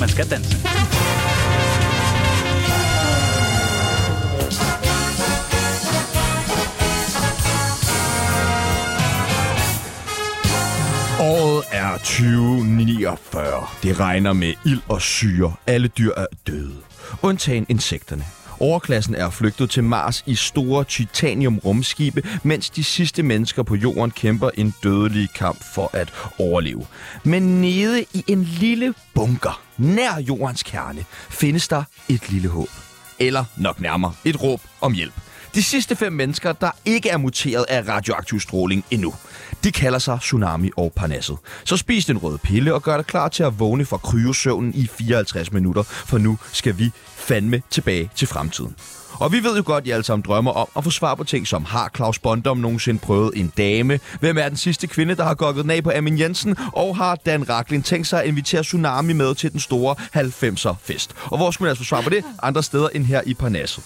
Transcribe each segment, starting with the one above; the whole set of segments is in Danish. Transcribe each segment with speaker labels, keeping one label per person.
Speaker 1: Man skal danse.
Speaker 2: Året er 2049. Det regner med ild og syre. Alle dyr er døde. Undtagen insekterne. Overklassen er flygtet til Mars i store titanium-rumskibe, mens de sidste mennesker på jorden kæmper en dødelig kamp for at overleve. Men nede i en lille bunker, nær jordens kerne, findes der et lille håb. Eller nok nærmere, et råb om hjælp. De sidste fem mennesker, der ikke er muteret af radioaktiv stråling endnu. De kalder sig Tsunami og Parnasset. Så spis den røde pille og gør dig klar til at vågne fra kryosøvnen i 54 minutter, for nu skal vi fandme tilbage til fremtiden. Og vi ved jo godt, at I alle sammen drømmer om at få svar på ting som, har Claus Bondom nogensinde prøvet en dame? Hvem er den sidste kvinde, der har gokket den af på Amin Jensen? Og har Dan Raklin tænkt sig at invitere Tsunami med til den store 90'er-fest? Og hvor skulle man altså få svar på det? Andre steder end her i Parnasset.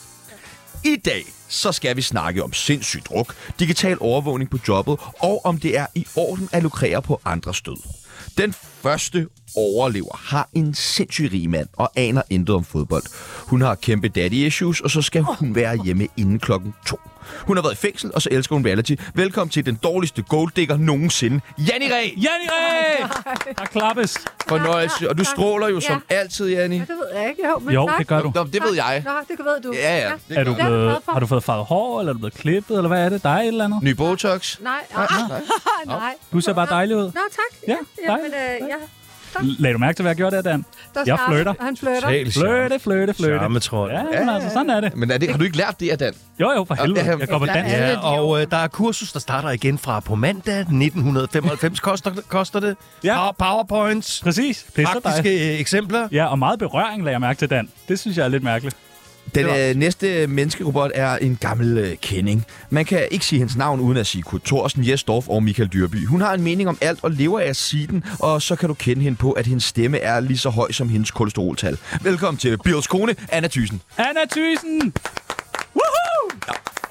Speaker 2: I dag så skal vi snakke om sindssyg druk, digital overvågning på jobbet og om det er i orden at lukrere på andres død. Den første overlever har en sindssyg rig mand og aner intet om fodbold. Hun har kæmpe daddy issues, og så skal hun være hjemme inden klokken to. Hun har været i fængsel, og så elsker hun reality. Velkommen til den dårligste golddigger nogensinde. Janni Ræ!
Speaker 1: Janni
Speaker 3: Oh
Speaker 1: Ræ! Der klappes.
Speaker 2: Fornøjelse, og du stråler jo som altid, Janni.
Speaker 3: Det ved jeg ikke. Jo, men
Speaker 1: Jo,
Speaker 3: tak.
Speaker 1: det gør du.
Speaker 2: Nå, det ved jeg.
Speaker 3: Nå, det ved du.
Speaker 2: Ja, ja. Det
Speaker 1: Er du
Speaker 3: Det er jeg glad
Speaker 1: blevet,
Speaker 3: for.
Speaker 1: har du fået farvet hår, eller er du blevet klippet, eller hvad er det? Der er et eller andet.
Speaker 2: Ny Botox.
Speaker 3: Nej, nej, nej. nej.
Speaker 1: Du ser bare dejlig ud.
Speaker 3: Nå, tak.
Speaker 1: Ja,
Speaker 3: men,
Speaker 1: dejligt.
Speaker 3: øh, ja.
Speaker 1: Lad du mærke til, hvad jeg gjorde der, Dan?
Speaker 3: Der
Speaker 1: Jeg
Speaker 3: snakker-
Speaker 1: flirter.
Speaker 3: Han flirter.
Speaker 2: Total charme.
Speaker 1: Fløjte, fløjte, fløjte.
Speaker 4: Charmetrold.
Speaker 1: Ja, men altså, sådan er det.
Speaker 2: Men er det, har du ikke lært det af Dan?
Speaker 1: Jo, jo, for helvede. Jeg går på dans.
Speaker 4: Ja, og øh, der er kursus, der starter igen fra på mandag 1995, koster, koster det.
Speaker 1: Ja.
Speaker 4: Pow- Powerpoints,
Speaker 1: Præcis. Det er så dejligt.
Speaker 4: praktiske øh, eksempler.
Speaker 1: Ja, og meget berøring lagde jeg mærke til, Dan. Det synes jeg er lidt mærkeligt.
Speaker 2: Den
Speaker 1: Det var-
Speaker 2: øh, næste menneskerobot er en gammel øh, kending. Man kan ikke sige hendes navn uden at sige Kurt Thorsen, Jes Dorf og Michael Dyrby. Hun har en mening om alt og lever af at sige den, og så kan du kende hende på, at hendes stemme er lige så høj som hendes kolesteroltal. Velkommen til Bills kone, Anna Thyssen.
Speaker 1: Anna Thyssen!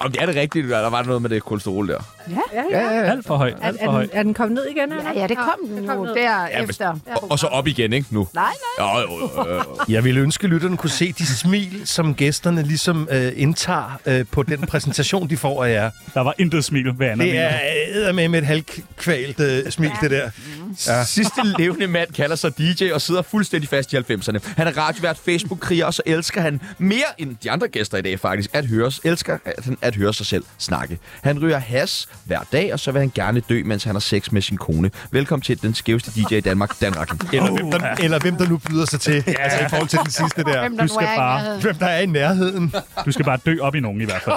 Speaker 2: Om det er det rigtigt, eller var der noget med det kolesterol der?
Speaker 3: Ja, ja.
Speaker 1: Alt for højt,
Speaker 3: Er,
Speaker 1: alt
Speaker 3: er,
Speaker 1: for højt.
Speaker 3: den, er den kommet ned igen? eller?
Speaker 5: Ja, ja, det kom den
Speaker 3: det
Speaker 5: jo
Speaker 3: ned.
Speaker 5: derefter.
Speaker 2: Og, og så op igen, ikke nu?
Speaker 5: Nej, nej.
Speaker 2: Jo, jo, jo, jo.
Speaker 4: Jeg ville ønske, at lytterne kunne se de smil, som gæsterne ligesom øh, indtager øh, på den præsentation, de får af jer.
Speaker 1: Der var intet smil ved Anna.
Speaker 4: Det
Speaker 1: mener jeg.
Speaker 4: er med med et halvkvalt øh, smil, det der.
Speaker 2: Ja. Sidste levende mand kalder sig DJ og sidder fuldstændig fast i 90'erne. Han er radiovært, Facebook-kriger, og så elsker han mere end de andre gæster i dag faktisk, at høre, elsker at han at høre sig selv snakke. Han ryger has hver dag, og så vil han gerne dø, mens han har sex med sin kone. Velkommen til den skæveste DJ i Danmark, Dan Rakken.
Speaker 4: Eller, hvem der, eller hvem der nu byder sig til, altså i forhold til den sidste der.
Speaker 5: Hvem der
Speaker 1: Du
Speaker 5: nu
Speaker 1: skal
Speaker 5: er i
Speaker 1: bare-
Speaker 5: nærheden.
Speaker 4: Hvem der er i nærheden.
Speaker 1: Du skal bare dø op i nogen i hvert fald.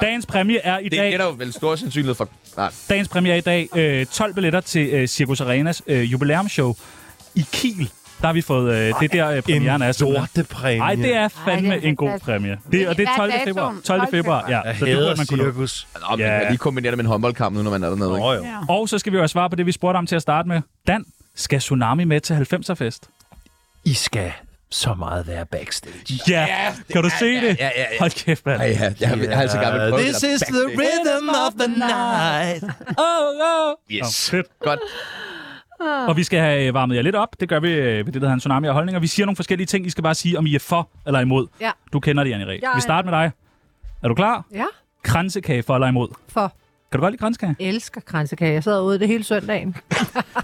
Speaker 1: Dagens præmie er i
Speaker 2: Det er
Speaker 1: dag,
Speaker 2: der jo vel stor sandsynlighed for. Nej.
Speaker 1: dagens præmie er i dag øh, 12 billetter til øh, Circus Arenas øh, jubilæumshow i Kiel. Der har vi fået øh, det der øh, premieren er.
Speaker 4: En
Speaker 1: simpelthen.
Speaker 4: lortepræmie.
Speaker 1: Ej, det er fandme Ej,
Speaker 5: Ej, det
Speaker 1: det
Speaker 5: er
Speaker 1: en god
Speaker 5: fantastisk.
Speaker 1: præmie. Det, og det er 12.
Speaker 5: Hvad er
Speaker 1: februar.
Speaker 5: datoen?
Speaker 1: 12.
Speaker 5: 12.
Speaker 1: februar, ja.
Speaker 4: Jeg
Speaker 1: Så det burde
Speaker 4: hader
Speaker 1: man kunne nå.
Speaker 4: cirkus.
Speaker 2: Nå, men
Speaker 1: Ja.
Speaker 2: yeah. lige kombinere det med en håndboldkamp nu, når man er dernede. Ikke?
Speaker 4: Nå jo.
Speaker 1: Og så skal vi jo også svare på det, vi spurgte om til at starte med. Dan, skal Tsunami med til 90'er-fest?
Speaker 4: I skal så meget være backstage.
Speaker 1: Ja, ja kan du se det?
Speaker 2: ja, ja, ja.
Speaker 1: Hold kæft, mand.
Speaker 2: Ej, ja, jeg, jeg, har altså gerne vil prøve
Speaker 4: This
Speaker 2: det
Speaker 4: is the rhythm of the night.
Speaker 1: Oh, oh.
Speaker 2: der. Yes.
Speaker 1: Fedt.
Speaker 2: Godt.
Speaker 1: Og vi skal have øh, varmet jer lidt op. Det gør vi øh, ved det, der hedder en tsunami af holdninger. Vi siger nogle forskellige ting. I skal bare sige, om I er for eller imod.
Speaker 3: Ja.
Speaker 1: Du kender det, Anne Ræ.
Speaker 3: Jeg
Speaker 1: Vi
Speaker 3: er-
Speaker 1: starter med dig. Er du klar?
Speaker 3: Ja,
Speaker 1: Kransekage for eller imod.
Speaker 3: for
Speaker 1: Kan du godt lide kransekage?
Speaker 3: elsker kransekage. Jeg sad ude det hele søndagen.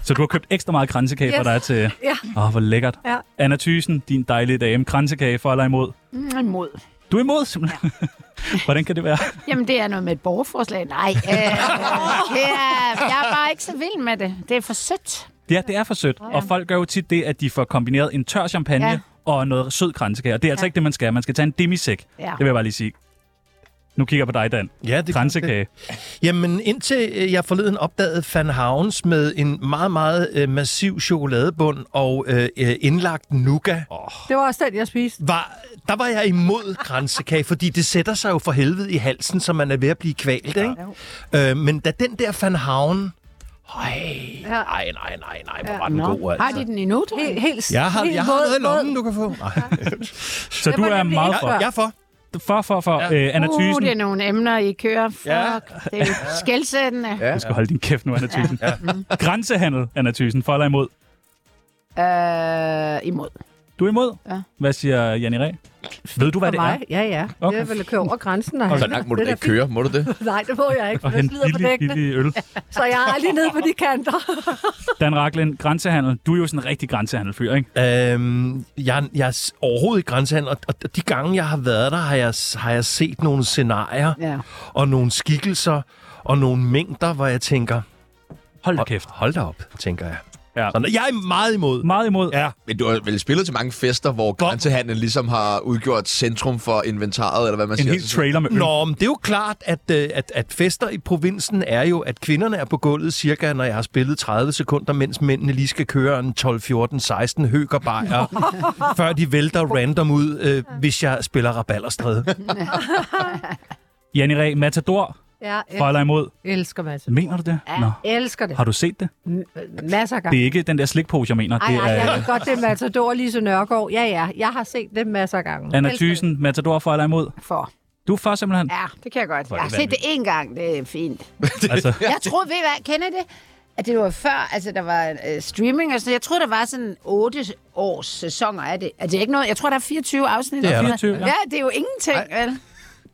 Speaker 1: Så du har købt ekstra meget kransekage yes. for
Speaker 3: Yes.
Speaker 1: dig til...
Speaker 3: Ja.
Speaker 1: Åh, oh, hvor lækkert.
Speaker 3: Ja.
Speaker 1: Anna Thysen, din dejlige dame. Kransekage for eller imod.
Speaker 5: Mm, Imod.
Speaker 1: Du er imod, simpelthen. Ja. Hvordan kan det være?
Speaker 5: Jamen, det er noget med et borgerforslag. Nej, øh, det er, jeg er bare ikke så vild med det. Det er for sødt.
Speaker 1: Ja, det er for sødt. Og folk gør jo tit det, at de får kombineret en tør champagne ja.
Speaker 5: Ja.
Speaker 1: og noget sød kransekage. Og det er altså ja. ikke det, man skal. Man skal tage en demisek.
Speaker 5: Ja.
Speaker 1: Det vil jeg bare lige sige. Nu kigger jeg på dig, Dan.
Speaker 4: Ja, det
Speaker 1: Kransekage.
Speaker 4: Jamen, indtil øh, jeg forleden opdagede Van Havens med en meget, meget øh, massiv chokoladebund og øh, øh, indlagt nougat, oh.
Speaker 3: Det var også den, jeg spiste.
Speaker 4: var, der var jeg imod kransekage, fordi det sætter sig jo for helvede i halsen, så man er ved at blive kvalt, ikke? Øh, men da den der Van Haven... Øj,
Speaker 3: Ja.
Speaker 4: nej, nej, nej, nej, hvor var den
Speaker 5: Nå.
Speaker 4: god,
Speaker 5: Har
Speaker 4: altså.
Speaker 5: de den endnu, tror
Speaker 3: Helt,
Speaker 5: jeg?
Speaker 3: helt,
Speaker 4: Jeg har,
Speaker 3: helt
Speaker 4: jeg har
Speaker 3: våd-
Speaker 4: noget i
Speaker 3: våd-
Speaker 4: lommen, du kan få. Nej.
Speaker 1: Så
Speaker 3: Det
Speaker 1: du
Speaker 3: var
Speaker 1: er
Speaker 3: nemlig
Speaker 1: meget
Speaker 3: ikke
Speaker 1: for.
Speaker 3: før.
Speaker 4: Jeg er for.
Speaker 1: For, for, for. Ja. Øh, Anna
Speaker 5: Uh,
Speaker 1: Thysen.
Speaker 5: det er nogle emner, I kører. Fuck,
Speaker 4: Ja.
Speaker 5: ja. det er jo skældsættende. Ja.
Speaker 1: Du skal holde din kæft nu, Anna Thysen. Ja. Grænsehandel, Anna Thysen. For eller imod?
Speaker 5: Øh, imod.
Speaker 1: Du er imod?
Speaker 5: Ja.
Speaker 1: Hvad siger Janne Ræ? Ved du, hvad
Speaker 3: For
Speaker 1: det
Speaker 3: mig?
Speaker 1: er?
Speaker 3: Ja, ja.
Speaker 1: Okay.
Speaker 3: Jeg vil køre over grænsen. Og
Speaker 2: Så langt må du da ikke køre, må du det?
Speaker 3: Nej, det må jeg ikke.
Speaker 1: Og
Speaker 3: for Jeg
Speaker 1: hente
Speaker 3: slider på
Speaker 1: billig,
Speaker 3: dækkene,
Speaker 1: billig øl.
Speaker 3: så jeg er aldrig nede på de kanter.
Speaker 1: Dan Raklen, grænsehandel. Du er jo sådan en rigtig grænsehandelfyr, ikke?
Speaker 4: Øhm, jeg, jeg er s- overhovedet ikke grænsehandel, og, og de gange, jeg har været der, har jeg, s- har jeg set nogle scenarier
Speaker 5: Ja.
Speaker 4: og nogle skikkelser og nogle mængder, hvor jeg tænker,
Speaker 1: Hold da
Speaker 4: hold,
Speaker 1: kæft.
Speaker 4: hold da op, tænker jeg.
Speaker 1: Ja.
Speaker 4: Sådan, jeg er meget imod.
Speaker 1: Meget imod.
Speaker 4: Ja.
Speaker 2: Men du har vel spillet til mange fester, hvor grænsehandlen ligesom har udgjort centrum for inventaret, eller hvad man
Speaker 1: En
Speaker 2: siger.
Speaker 1: hel trailer med øl.
Speaker 4: Nå, men det er jo klart, at, øh, at, at fester i provinsen er jo, at kvinderne er på gulvet cirka, når jeg har spillet 30 sekunder, mens mændene lige skal køre en 12, 14, 16 høgerbejer, før de vælter random ud, øh, hvis jeg spiller rabalderstræde.
Speaker 1: Janne Ræ, Matador.
Speaker 3: Ja,
Speaker 1: For
Speaker 3: jeg
Speaker 1: eller imod.
Speaker 3: elsker masser.
Speaker 1: Mener du det? Nå.
Speaker 3: Elsker det.
Speaker 1: Har du set det?
Speaker 3: Masser af gange.
Speaker 1: Det er ikke den der slikpose, jeg mener.
Speaker 3: Ej,
Speaker 1: Det
Speaker 3: ej, jeg
Speaker 1: er
Speaker 3: ved godt, det er Matador Lise Nørgaard. Ja, ja, jeg har set det masser af gange.
Speaker 1: Anna
Speaker 3: Elsker det.
Speaker 1: Thysen, Matador for eller imod.
Speaker 5: For.
Speaker 1: Du er for simpelthen.
Speaker 5: Ja, det kan jeg godt.
Speaker 1: Hvor er
Speaker 5: Jeg har
Speaker 1: det
Speaker 5: set det én gang. Det er fint.
Speaker 1: Altså,
Speaker 5: Jeg troede, ved I hvad, kender I det? At det var før, altså der var øh, streaming og sådan Jeg tror, der var sådan 8 års sæsoner af det. Altså, det er ikke noget, jeg tror, der er 24 afsnit.
Speaker 4: Det er
Speaker 5: eller
Speaker 4: der.
Speaker 5: sådan
Speaker 1: 24,
Speaker 5: noget.
Speaker 1: ja.
Speaker 5: ja. det er jo ingenting, vel?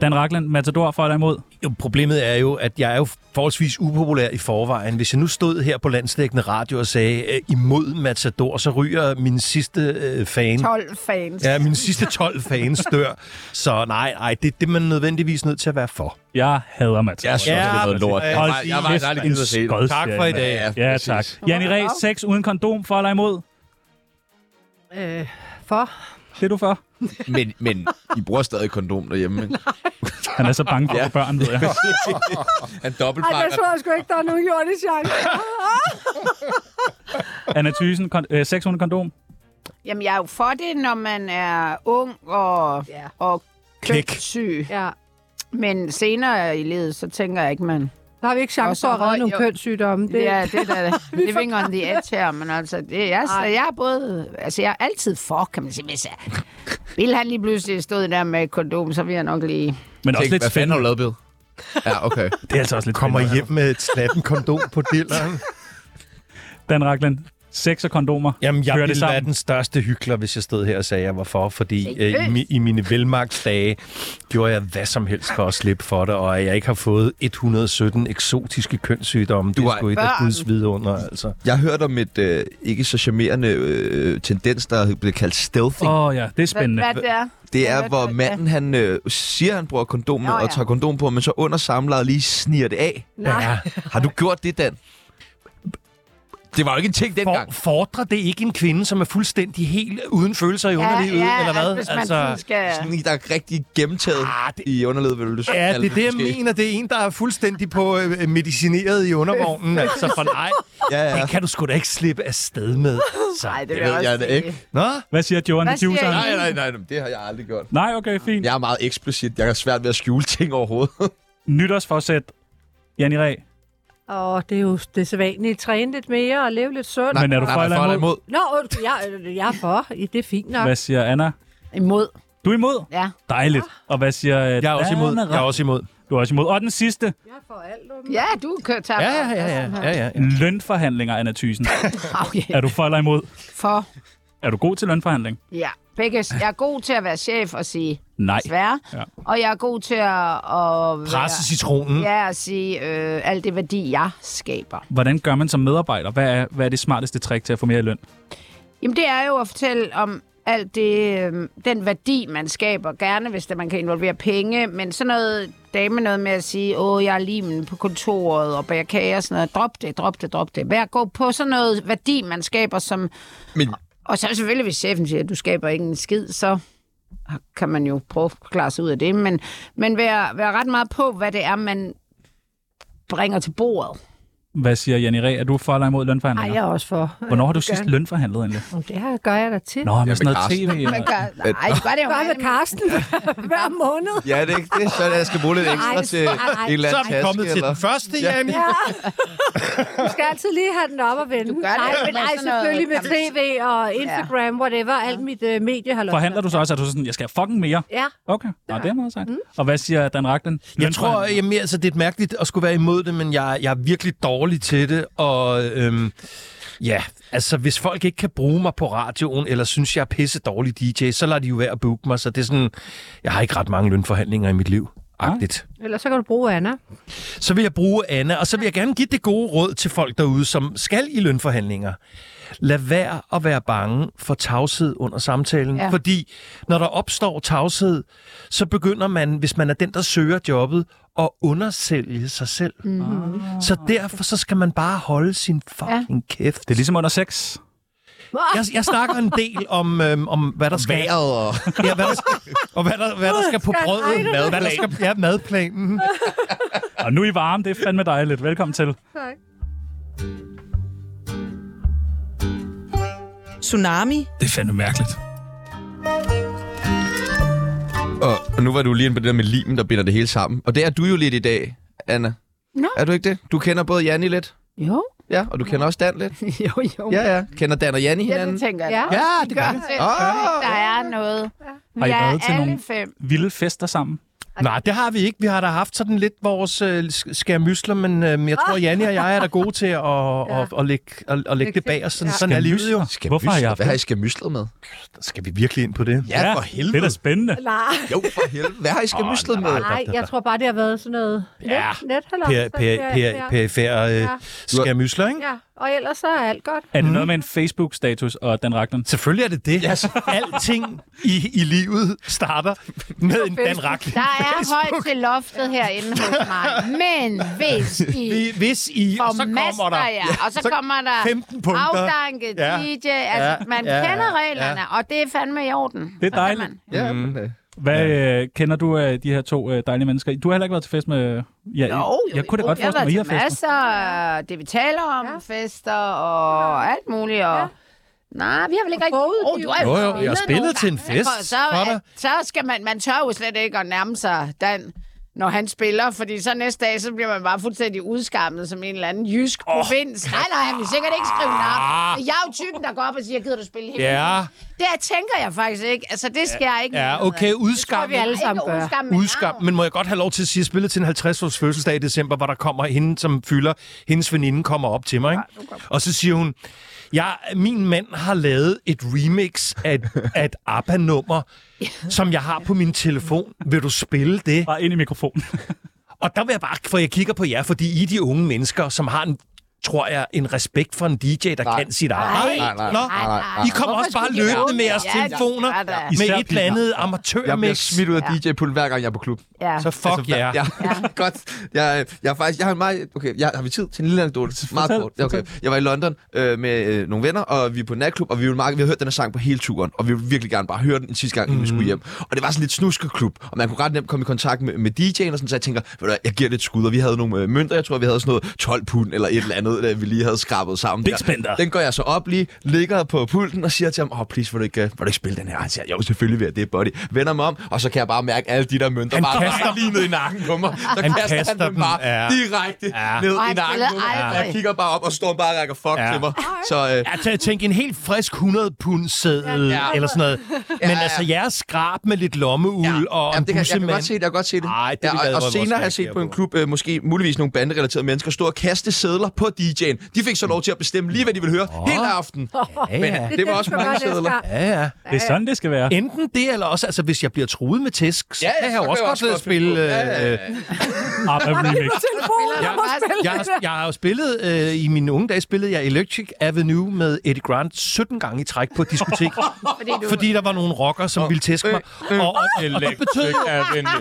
Speaker 1: Dan Raklen, Matador for eller imod.
Speaker 4: Jo, problemet er jo, at jeg er jo forholdsvis upopulær i forvejen. Hvis jeg nu stod her på landsdækkende radio og sagde øh, imod Matador, så ryger min sidste øh, fan.
Speaker 5: 12 fans.
Speaker 4: Ja, mine sidste 12 fans dør. Så nej, nej, det, det er man nødvendigvis nødt til at være for.
Speaker 1: Jeg hader Matador.
Speaker 2: Jeg synes, det er noget lort. Jeg var, jeg var aldrig givet at se det.
Speaker 4: Tak for i dag.
Speaker 1: Ja, ja tak. Janne Ræ, sex uden kondom for eller imod.
Speaker 3: Øh, for?
Speaker 1: Det er du for.
Speaker 2: Men, men I bruger stadig kondom derhjemme, ikke?
Speaker 1: Han er så bange for
Speaker 2: Ja.
Speaker 1: ja. børn, ved jeg.
Speaker 2: Han
Speaker 3: Ej, der
Speaker 2: dobbeltpakker.
Speaker 3: tror jeg sgu ikke, der er nogen jordisk chance.
Speaker 1: Anna Thysen, kon- øh, sex uden kondom.
Speaker 5: Jamen, jeg er jo for det, når man er ung og,
Speaker 3: Ja.
Speaker 5: ja. og
Speaker 4: Knæk.
Speaker 5: kønssyg.
Speaker 3: Ja.
Speaker 5: Men senere i livet, så tænker jeg ikke, man...
Speaker 3: Der har vi ikke chance
Speaker 5: Og så
Speaker 3: for at redde
Speaker 5: røg-
Speaker 3: nogle
Speaker 5: jo.
Speaker 3: kønssygdomme.
Speaker 5: Det
Speaker 3: Det,
Speaker 5: er det der er living on the edge her, men altså, det, jeg, så jeg er både, altså jeg er altid for, kan man sige, hvis jeg, ville han lige pludselig stå der med et kondom, så ville jeg nok lige,
Speaker 1: Men også
Speaker 2: Tænk,
Speaker 1: lidt
Speaker 2: hvad fanden har du
Speaker 1: spændende.
Speaker 2: lavet, Bill? Ja, okay.
Speaker 1: Det er altså også lidt
Speaker 4: Kommer
Speaker 1: spændende.
Speaker 4: hjem med et snappen kondom på dilleren.
Speaker 1: Dan Raklen, sex og kondomer.
Speaker 4: Jamen, jeg
Speaker 1: Hører det
Speaker 4: ville
Speaker 1: sammen?
Speaker 4: være den største hyggelig, hvis jeg stod her og sagde, at jeg var for, fordi øh, i, mi- i mine velmagtsdage gjorde jeg hvad som helst for at slippe for det, og at jeg ikke har fået 117 eksotiske kønssygdomme. Du det
Speaker 2: har
Speaker 4: er sgu et af
Speaker 5: børn.
Speaker 4: Guds vidunder, altså.
Speaker 2: Jeg har hørt om et øh, ikke så charmerende øh, tendens, der bliver kaldt stealthing.
Speaker 1: Åh oh, ja, det er
Speaker 5: hvad,
Speaker 1: spændende.
Speaker 5: hvad det er?
Speaker 2: Det
Speaker 5: Jeg
Speaker 2: er,
Speaker 5: hørte
Speaker 2: hvor
Speaker 5: det,
Speaker 2: manden han øh, siger, han bruger kondom
Speaker 5: Nå,
Speaker 2: og
Speaker 5: ja.
Speaker 2: tager kondom på, men så under samlejet lige sniger det af.
Speaker 3: Nej.
Speaker 4: Ja.
Speaker 2: Har du gjort det, Dan? Det var jo ikke en ting dengang.
Speaker 4: For, fordrer det ikke en kvinde, som er fuldstændig helt uden følelser i underlivet, eller hvad?
Speaker 5: altså, hvis man sådan skal...
Speaker 2: Sådan en, der er rigtig gennemtaget
Speaker 4: Ah, det-
Speaker 2: i underlivet, vil du
Speaker 4: Ja,
Speaker 2: kalde
Speaker 4: det er det, jeg
Speaker 2: måske.
Speaker 4: mener. Det er en, der er fuldstændig på øh, medicineret i undervognen. Altså, for nej,
Speaker 2: Ja, ja.
Speaker 4: det kan du sgu da ikke slippe af sted med.
Speaker 5: Nej,
Speaker 4: Så.
Speaker 5: det, vil
Speaker 2: Det ved jeg
Speaker 5: også
Speaker 2: da
Speaker 5: sige.
Speaker 2: ikke.
Speaker 4: Nå,
Speaker 1: Hvad siger Johan
Speaker 5: Hvad
Speaker 1: the
Speaker 5: siger
Speaker 1: Juiceren?
Speaker 5: I?
Speaker 2: Nej, nej, nej, nej, det har jeg aldrig gjort.
Speaker 1: Nej, okay, fint. Ja.
Speaker 2: Jeg er meget eksplicit. Jeg har svært ved at skjule ting overhovedet.
Speaker 1: Nytårsforsæt, Janne Ræ.
Speaker 3: Og det er jo det sædvanlige. Træne lidt mere og leve lidt sundt.
Speaker 1: Men er du for eller imod?
Speaker 3: Nå, undskyld, jeg, øh, jeg er for. Ja, Det er fint nok.
Speaker 1: Hvad siger Anna?
Speaker 5: Imod,
Speaker 1: Du er imod?
Speaker 5: ja.
Speaker 1: Dejligt.
Speaker 5: Ah.
Speaker 1: Og hvad siger øh,
Speaker 4: jeg er også
Speaker 1: Dan
Speaker 4: imod.
Speaker 1: Ra-
Speaker 4: Jeg er også imod.
Speaker 1: Du er også imod. Og den sidste,
Speaker 3: Jeg er for alt.
Speaker 5: Ja, du kører tabt.
Speaker 4: Ja, ja, ja.
Speaker 5: Altså,
Speaker 4: ja, ja, ja.
Speaker 1: lønforhandlinger, Anna Thysen.
Speaker 5: Okay.
Speaker 1: er du for eller imod?
Speaker 5: For,
Speaker 1: Er du god til lønforhandling?
Speaker 5: ja. Begge, jeg er god til at være chef og sige
Speaker 1: Nej.
Speaker 5: svær,
Speaker 1: Ja.
Speaker 5: ja. og jeg er god til at, at
Speaker 4: Presse citronen.
Speaker 5: Ja, at sige øh, alt det værdi, jeg skaber.
Speaker 1: Hvordan gør man som medarbejder? Hvad er, hvad er det smarteste trick til at få mere i løn?
Speaker 5: Jamen, det er jo at fortælle om alt det, øh, den værdi, man skaber. Gerne, hvis det, man kan involvere penge, men sådan noget dame noget med at sige, åh, jeg er limen på kontoret og bærer kager og sådan noget. Drop det, drop det, drop det. Vær gå på sådan noget værdi, man skaber, som...
Speaker 2: Men
Speaker 5: Og så selvfølgelig, hvis chefen siger, at du skaber ikke en skid, så kan man jo prøve at klare sig ud af det. Men, men vær, vær ret meget på, hvad det er, man bringer til bordet.
Speaker 1: Hvad siger Janne Ræ? Er du for eller imod
Speaker 3: Nej,
Speaker 1: lønforhandlinger?
Speaker 3: jeg er også for.
Speaker 1: Hvornår har du sidst lønforhandlet egentlig?
Speaker 3: Jamen, Det her gør jeg da til.
Speaker 1: Nå, med sådan noget øh,
Speaker 2: Carsten.
Speaker 1: tv.
Speaker 5: Man
Speaker 1: Eller?
Speaker 5: gør, nej, det gør det jo
Speaker 3: Gør
Speaker 5: meget
Speaker 3: med Karsten hver måned.
Speaker 2: ja, det er ikke det. Så er det, jeg skal bruge lidt ekstra
Speaker 3: Nej,
Speaker 2: til
Speaker 3: nej, nej.
Speaker 2: en eller
Speaker 4: Så
Speaker 2: anden
Speaker 4: er vi
Speaker 2: taske.
Speaker 4: kommet til
Speaker 2: eller...
Speaker 4: den første, Janne.
Speaker 3: Ja. Du skal altid lige have den op og vende.
Speaker 5: gør det
Speaker 3: nej,
Speaker 5: jo
Speaker 3: men
Speaker 5: med
Speaker 3: nej,
Speaker 5: sådan noget-
Speaker 3: selvfølgelig med tv og Instagram, whatever, alt mit øh, medie har
Speaker 1: Forhandler du så også, at du er sådan, jeg skal have fucking mere?
Speaker 3: Ja,
Speaker 1: Okay, Nå, det er meget
Speaker 5: Mm.
Speaker 1: sejt. Og hvad siger Dan Raglen?
Speaker 4: Jeg tror,
Speaker 1: Lønforhandling.
Speaker 4: jamen, altså, det er mærkeligt at skulle være imod det, men jeg, jeg er virkelig dårlig til det, og øhm, ja, altså hvis folk ikke kan bruge mig på radioen, eller synes, jeg er pisse dårlig DJ, så lader de jo være at booke mig, så det er sådan, jeg har ikke ret mange lønforhandlinger i mit liv. Agtigt.
Speaker 3: Ellers så kan du bruge Anna.
Speaker 4: Så vil jeg bruge Anna, og så vil jeg gerne give det gode råd til folk derude, som skal i lønforhandlinger. Lad være at være bange for tavshed under samtalen, ja.
Speaker 5: Ja.
Speaker 4: fordi når der opstår tavshed, så begynder man, hvis man er den, der søger jobbet, at undersælge sig selv.
Speaker 5: Mm-hmm.
Speaker 4: Så derfor så skal man bare holde sin fucking ja. kæft.
Speaker 1: Det er ligesom under sex.
Speaker 4: Jeg, jeg snakker en del om, øhm, om hvad der skal...
Speaker 2: Været og...
Speaker 4: Ja, hvad der, og hvad der, hvad der skal på brødet.
Speaker 3: Madplan.
Speaker 4: Hvad der skal, ja, madplanen.
Speaker 1: Og nu er I varme, det er fandme dejligt. Velkommen til.
Speaker 3: Tak.
Speaker 6: Tsunami.
Speaker 7: Det er fandme mærkeligt.
Speaker 2: og nu var du lige inde på det der med limen, der binder det hele sammen. Og det er du jo lidt i dag, Anna.
Speaker 5: Nå.
Speaker 2: Er du ikke det? Du kender både Janni lidt,
Speaker 5: Jo.
Speaker 2: ja, og du kender også Dan lidt.
Speaker 5: jo, jo.
Speaker 2: Ja, ja. Kender Dan og Janni
Speaker 5: Ja,
Speaker 2: hinanden?
Speaker 5: det tænker jeg.
Speaker 3: Ja.
Speaker 5: Ja,
Speaker 2: ja det
Speaker 5: det
Speaker 2: gør
Speaker 5: gør
Speaker 2: det.
Speaker 4: Ah!
Speaker 5: det.
Speaker 2: Åh.
Speaker 5: Der er noget. Vi
Speaker 1: Har I
Speaker 5: er
Speaker 1: været til
Speaker 5: alle
Speaker 1: nogen?
Speaker 5: fem.
Speaker 1: Vilde fester sammen.
Speaker 4: Nej, det har vi ikke. Vi har da haft sådan lidt vores øh, sk- skærmysler, men øh, jeg tror, Janne og jeg er da gode til at, ja. at, at, lægge, at, at lægge det bag os. Sådan,
Speaker 3: Ja.
Speaker 4: sådan er livet jo.
Speaker 2: Skal
Speaker 1: Hvorfor har jeg haft
Speaker 2: Hvad har I skamyslet med?
Speaker 4: Skal vi virkelig ind på det?
Speaker 2: Ja, for
Speaker 1: Det er da
Speaker 2: helvede.
Speaker 1: spændende.
Speaker 3: Nej,
Speaker 2: Jo, for helvede. Hvad har I skamyslet med?
Speaker 3: nej, jeg tror bare, det har været sådan noget net,
Speaker 4: Ja.
Speaker 3: net
Speaker 4: Per- per- per- Perifære øh,
Speaker 3: Ja.
Speaker 4: skærmysler, ikke?
Speaker 3: Ja, og ellers så er alt godt.
Speaker 1: Er
Speaker 5: Mm.
Speaker 1: det noget med en Facebook-status og den raklen?
Speaker 4: Selvfølgelig er det det. Yes. Alting i, i livet starter med en Dan Racklin.
Speaker 5: Der er højt til loftet herinde hos mig. Men hvis I
Speaker 4: Vi- Hvis I, og så kommer
Speaker 5: formaster
Speaker 4: der...
Speaker 5: jer, og så kommer der
Speaker 4: 15 punkter.
Speaker 5: afdanket
Speaker 4: Ja.
Speaker 5: DJ. Altså,
Speaker 4: Ja.
Speaker 5: man
Speaker 4: Ja, ja,
Speaker 5: kender
Speaker 4: ja.
Speaker 5: reglerne, og det er fandme i orden.
Speaker 1: Det er
Speaker 5: Så kan
Speaker 1: dejligt.
Speaker 5: man.
Speaker 2: Ja, men, øh,
Speaker 1: Hvad øh, kender du af de her to øh, dejlige mennesker? Du har heller ikke været til fest med... Øh, ja,
Speaker 5: Jo, jo,
Speaker 1: jeg kunne da
Speaker 5: jo.
Speaker 1: godt
Speaker 5: jeg
Speaker 1: forestille mig, I
Speaker 5: har
Speaker 1: har
Speaker 5: været til
Speaker 1: fester.
Speaker 5: masser af det, vi taler om,
Speaker 3: Ja.
Speaker 5: ja. fester og alt muligt. Og...
Speaker 3: Ja.
Speaker 5: Ja. Nej, vi har vel ikke rigtig...
Speaker 3: Bogudgivelser.
Speaker 5: Åh, du har
Speaker 4: Jo, jo, jeg har
Speaker 5: nogle
Speaker 4: spillet til en
Speaker 5: gange.
Speaker 4: fest,
Speaker 5: Så,
Speaker 4: Lotte.
Speaker 5: så, så skal man... Man tør jo slet ikke at nærme sig Dan, når han spiller, fordi så næste dag, så bliver man bare fuldstændig udskammet som en eller anden jysk oh. provins. Nej, nej, han vil sikkert ikke skrive navn. Jeg er jo typen, der går op og siger, gider du spille hele
Speaker 4: Ah. Ja,
Speaker 5: Det tænker jeg faktisk ikke. Altså, det skal jeg ikke.
Speaker 4: ja, okay, udskam.
Speaker 3: vi alle sammen gør.
Speaker 4: Udskam. Men må jeg godt have lov til at sige, at jeg spillede til en 50-års fødselsdag i december, hvor der kommer hende, som fylder, hendes veninde kommer op til mig, ikke? Og så siger hun, jeg, min mand har lavet et remix af et, af et ABBA-nummer, som jeg har på min telefon. Vil du spille det?
Speaker 1: Bare ind i mikrofonen.
Speaker 4: Og der vil jeg bare, for jeg kigger på jer, fordi I er de unge mennesker, som har en, tror jeg, en respekt for en DJ, der nej. kan sit arbejde.
Speaker 2: Nej, nej,
Speaker 4: Nå,
Speaker 2: nej, nej.
Speaker 4: I kommer også bare løbende med jeres telefoner,
Speaker 5: Ja, det gør der.
Speaker 1: Især
Speaker 4: med et eller
Speaker 1: piger.
Speaker 4: andet
Speaker 2: jeg bliver
Speaker 4: amatørmix.
Speaker 2: smidt ud af DJ-pulten, hver gang jeg er på klub.
Speaker 5: ja.
Speaker 4: Så fuck altså, jer.
Speaker 2: Ja, ja. godt. Jeg, jeg er faktisk, jeg har en meget, okay, jeg, har vi tid til en lille anekdote? Meget
Speaker 1: Fortæl,
Speaker 2: kort. Ja, Okay. Jeg var i London øh, med øh, nogle venner, og vi er på en natklub, og vi, ville meget, vi har hørt den her sang på hele turen, og vi ville virkelig gerne bare høre den en sidste gang, inden vi skulle hjem. Og det var sådan lidt snuskeklub, og man kunne ret nemt komme i kontakt med, med DJ'en, og sådan, så jeg tænker, ved du hvad, jeg giver lidt skud, og vi havde nogle øh, mønter, jeg tror, vi havde sådan noget 12 pund eller et eller andet, øh, vi lige havde skrabet sammen.
Speaker 1: Big
Speaker 2: der.
Speaker 1: spender.
Speaker 2: Den går jeg så op lige, ligger på pulten og siger til ham, åh, oh, please, vil du, ikke, øh, vil du ikke spille den her? Han siger, jo, selvfølgelig vil jeg det, buddy. Vender mig om, og så kan jeg bare mærke alle de der mønter
Speaker 4: Han
Speaker 2: bare
Speaker 4: kaster-
Speaker 2: lige ned i nakken på mig. Så
Speaker 4: Han
Speaker 2: han kaster,
Speaker 4: kaster
Speaker 2: han dem
Speaker 4: dem,
Speaker 2: bare
Speaker 4: ja.
Speaker 2: ja. direkte
Speaker 4: Ja.
Speaker 2: ja. ned
Speaker 5: Og
Speaker 2: i
Speaker 5: han
Speaker 2: nakken på
Speaker 5: spillede
Speaker 2: mig.
Speaker 5: aldrig.
Speaker 2: Og Jeg kigger bare op, og står bare og rækker fuck
Speaker 4: Ja.
Speaker 2: ja. til mig. Så øh,
Speaker 4: Altså, tænk en helt frisk 100 pund sædel ja,
Speaker 2: Ja.
Speaker 4: eller sådan noget. Men
Speaker 2: ja.
Speaker 4: altså, jeres skrab med lidt lommeuld
Speaker 2: Ja.
Speaker 4: og
Speaker 2: Jamen,
Speaker 4: en
Speaker 2: det kan, jeg kan godt
Speaker 4: bussemand.
Speaker 2: se det, jeg kan godt se det.
Speaker 4: Ej, det ville jeg
Speaker 2: ja, og,
Speaker 4: også
Speaker 2: og senere har jeg
Speaker 4: reagere
Speaker 2: set på en
Speaker 4: på.
Speaker 2: klub, øh, måske muligvis nogle banderelaterede mennesker, stå og kaste sædler på DJ'en. De fik så lov til at bestemme lige, hvad de ville høre oh. hele aften.
Speaker 4: Ja, ja.
Speaker 2: Det var også mange sædler.
Speaker 4: ja, ja.
Speaker 1: Det er sådan, det skal være.
Speaker 4: Enten det, eller også, altså, hvis jeg bliver truet med tæsk, så
Speaker 2: Ja, ja,
Speaker 4: kan
Speaker 2: så
Speaker 4: jeg jo
Speaker 2: kan
Speaker 4: også
Speaker 2: jeg
Speaker 4: godt
Speaker 2: også
Speaker 4: øh,
Speaker 2: godt finde
Speaker 4: spille...
Speaker 2: på. Ja, ja,
Speaker 4: øh,
Speaker 2: ja.
Speaker 1: Abba Ah, remix.
Speaker 3: Telefonen
Speaker 5: Ja.
Speaker 3: ja. må spille
Speaker 4: Jeg, har- jeg har jo spillet, øh, i mine unge dage spillede jeg Electric Avenue med Eddie Grant 17 gange i træk på et diskotek. fordi, du... fordi der var nogle rockere, som ville tæske mig.
Speaker 2: Øh,
Speaker 4: Og, og, og, det betød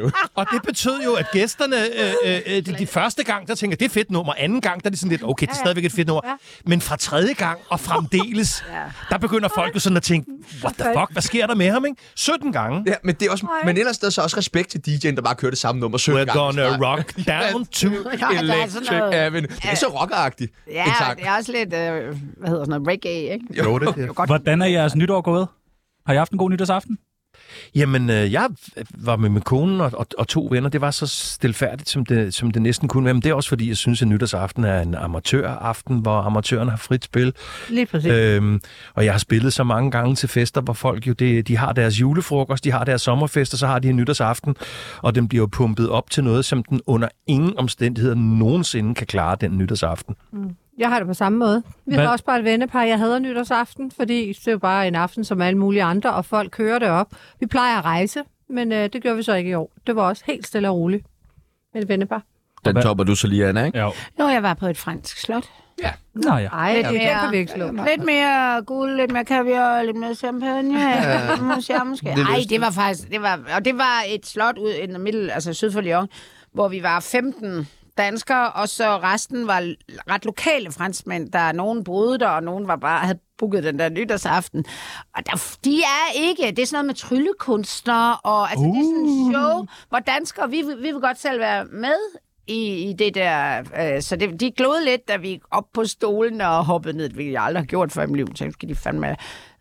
Speaker 4: jo, og det betød jo, at gæsterne, øh, øh, øh, de, de første gang, der tænker, det er et fedt nummer. Anden gang, der er de sådan lidt, okay, det er stadigvæk et fedt nummer. Men fra tredje gang og fremdeles, der begynder folk jo sådan at tænke, what the fuck, hvad sker der med ham, ikke? 17 gange.
Speaker 2: Ja, men, det er også, men ellers der er så også respekt til DJ'en, der bare kører det samme nummer 17
Speaker 4: We're
Speaker 2: gange.
Speaker 4: gonna rock down to...
Speaker 5: Ja, der er sådan
Speaker 2: Electric
Speaker 5: noget-
Speaker 2: Avenue. Det er så rockeragtigt.
Speaker 5: Ja,
Speaker 2: en
Speaker 5: og
Speaker 2: sang.
Speaker 5: det er også lidt, øh, hvad hedder sådan noget, reggae, ikke?
Speaker 2: Jo, det
Speaker 1: Hvordan er jeres nytår gået? Har I haft en god nytårsaften?
Speaker 4: Jamen, øh, jeg var med min kone og, og, og to venner. Det var så stilfærdigt, som det, som det næsten kunne være. Men det er også fordi, jeg synes, at nytårsaften er en amatøraften, hvor amatøren har frit spil.
Speaker 3: Lige præcis. Øh.
Speaker 4: Øhm, og jeg har spillet så mange gange til fester, hvor folk jo, det, de har deres julefrokost, de har deres sommerfest, og så har de en nytårsaften, og den bliver jo pumpet op til noget, som den under ingen omstændigheder nogensinde kan klare den nytårsaften.
Speaker 3: Jeg har det på samme måde. Vi
Speaker 1: Hvad-
Speaker 3: har også bare et vennepar, jeg hader nytårsaften, fordi det er jo bare en aften som alle mulige andre, og folk kører det op. Vi plejer at rejse, men øh, det gjorde vi så ikke i år. Det var også helt stille og roligt med et vennepar.
Speaker 2: Den topper du så lige, Anna, ikke?
Speaker 1: Ja.
Speaker 5: Jo, jeg var på et fransk slot.
Speaker 1: Nå ja.
Speaker 3: Nej, det, det kan vi ikke slå.
Speaker 5: Lidt mere guld, lidt mere kaviar, lidt mere champagne. Ja. Måske. Ej, det var faktisk... Det var, og det var et slot ud i den middel, altså syd for Lyon, hvor vi var 15 danskere, og så resten var l- ret lokale franskmænd, der nogen boede der, og nogen var bare havde booket den der nytårsaften. Og der, f- de er ikke... Det er sådan noget med tryllekunstnere, og altså, uh. det er sådan en show, hvor danskere, vi, vil- vi vil godt selv være med i, i det der... Øh, så det, de glod lidt, da vi gik op på stolen og hoppede ned, hvilket jeg aldrig har gjort før i mit liv. Så skal de fandme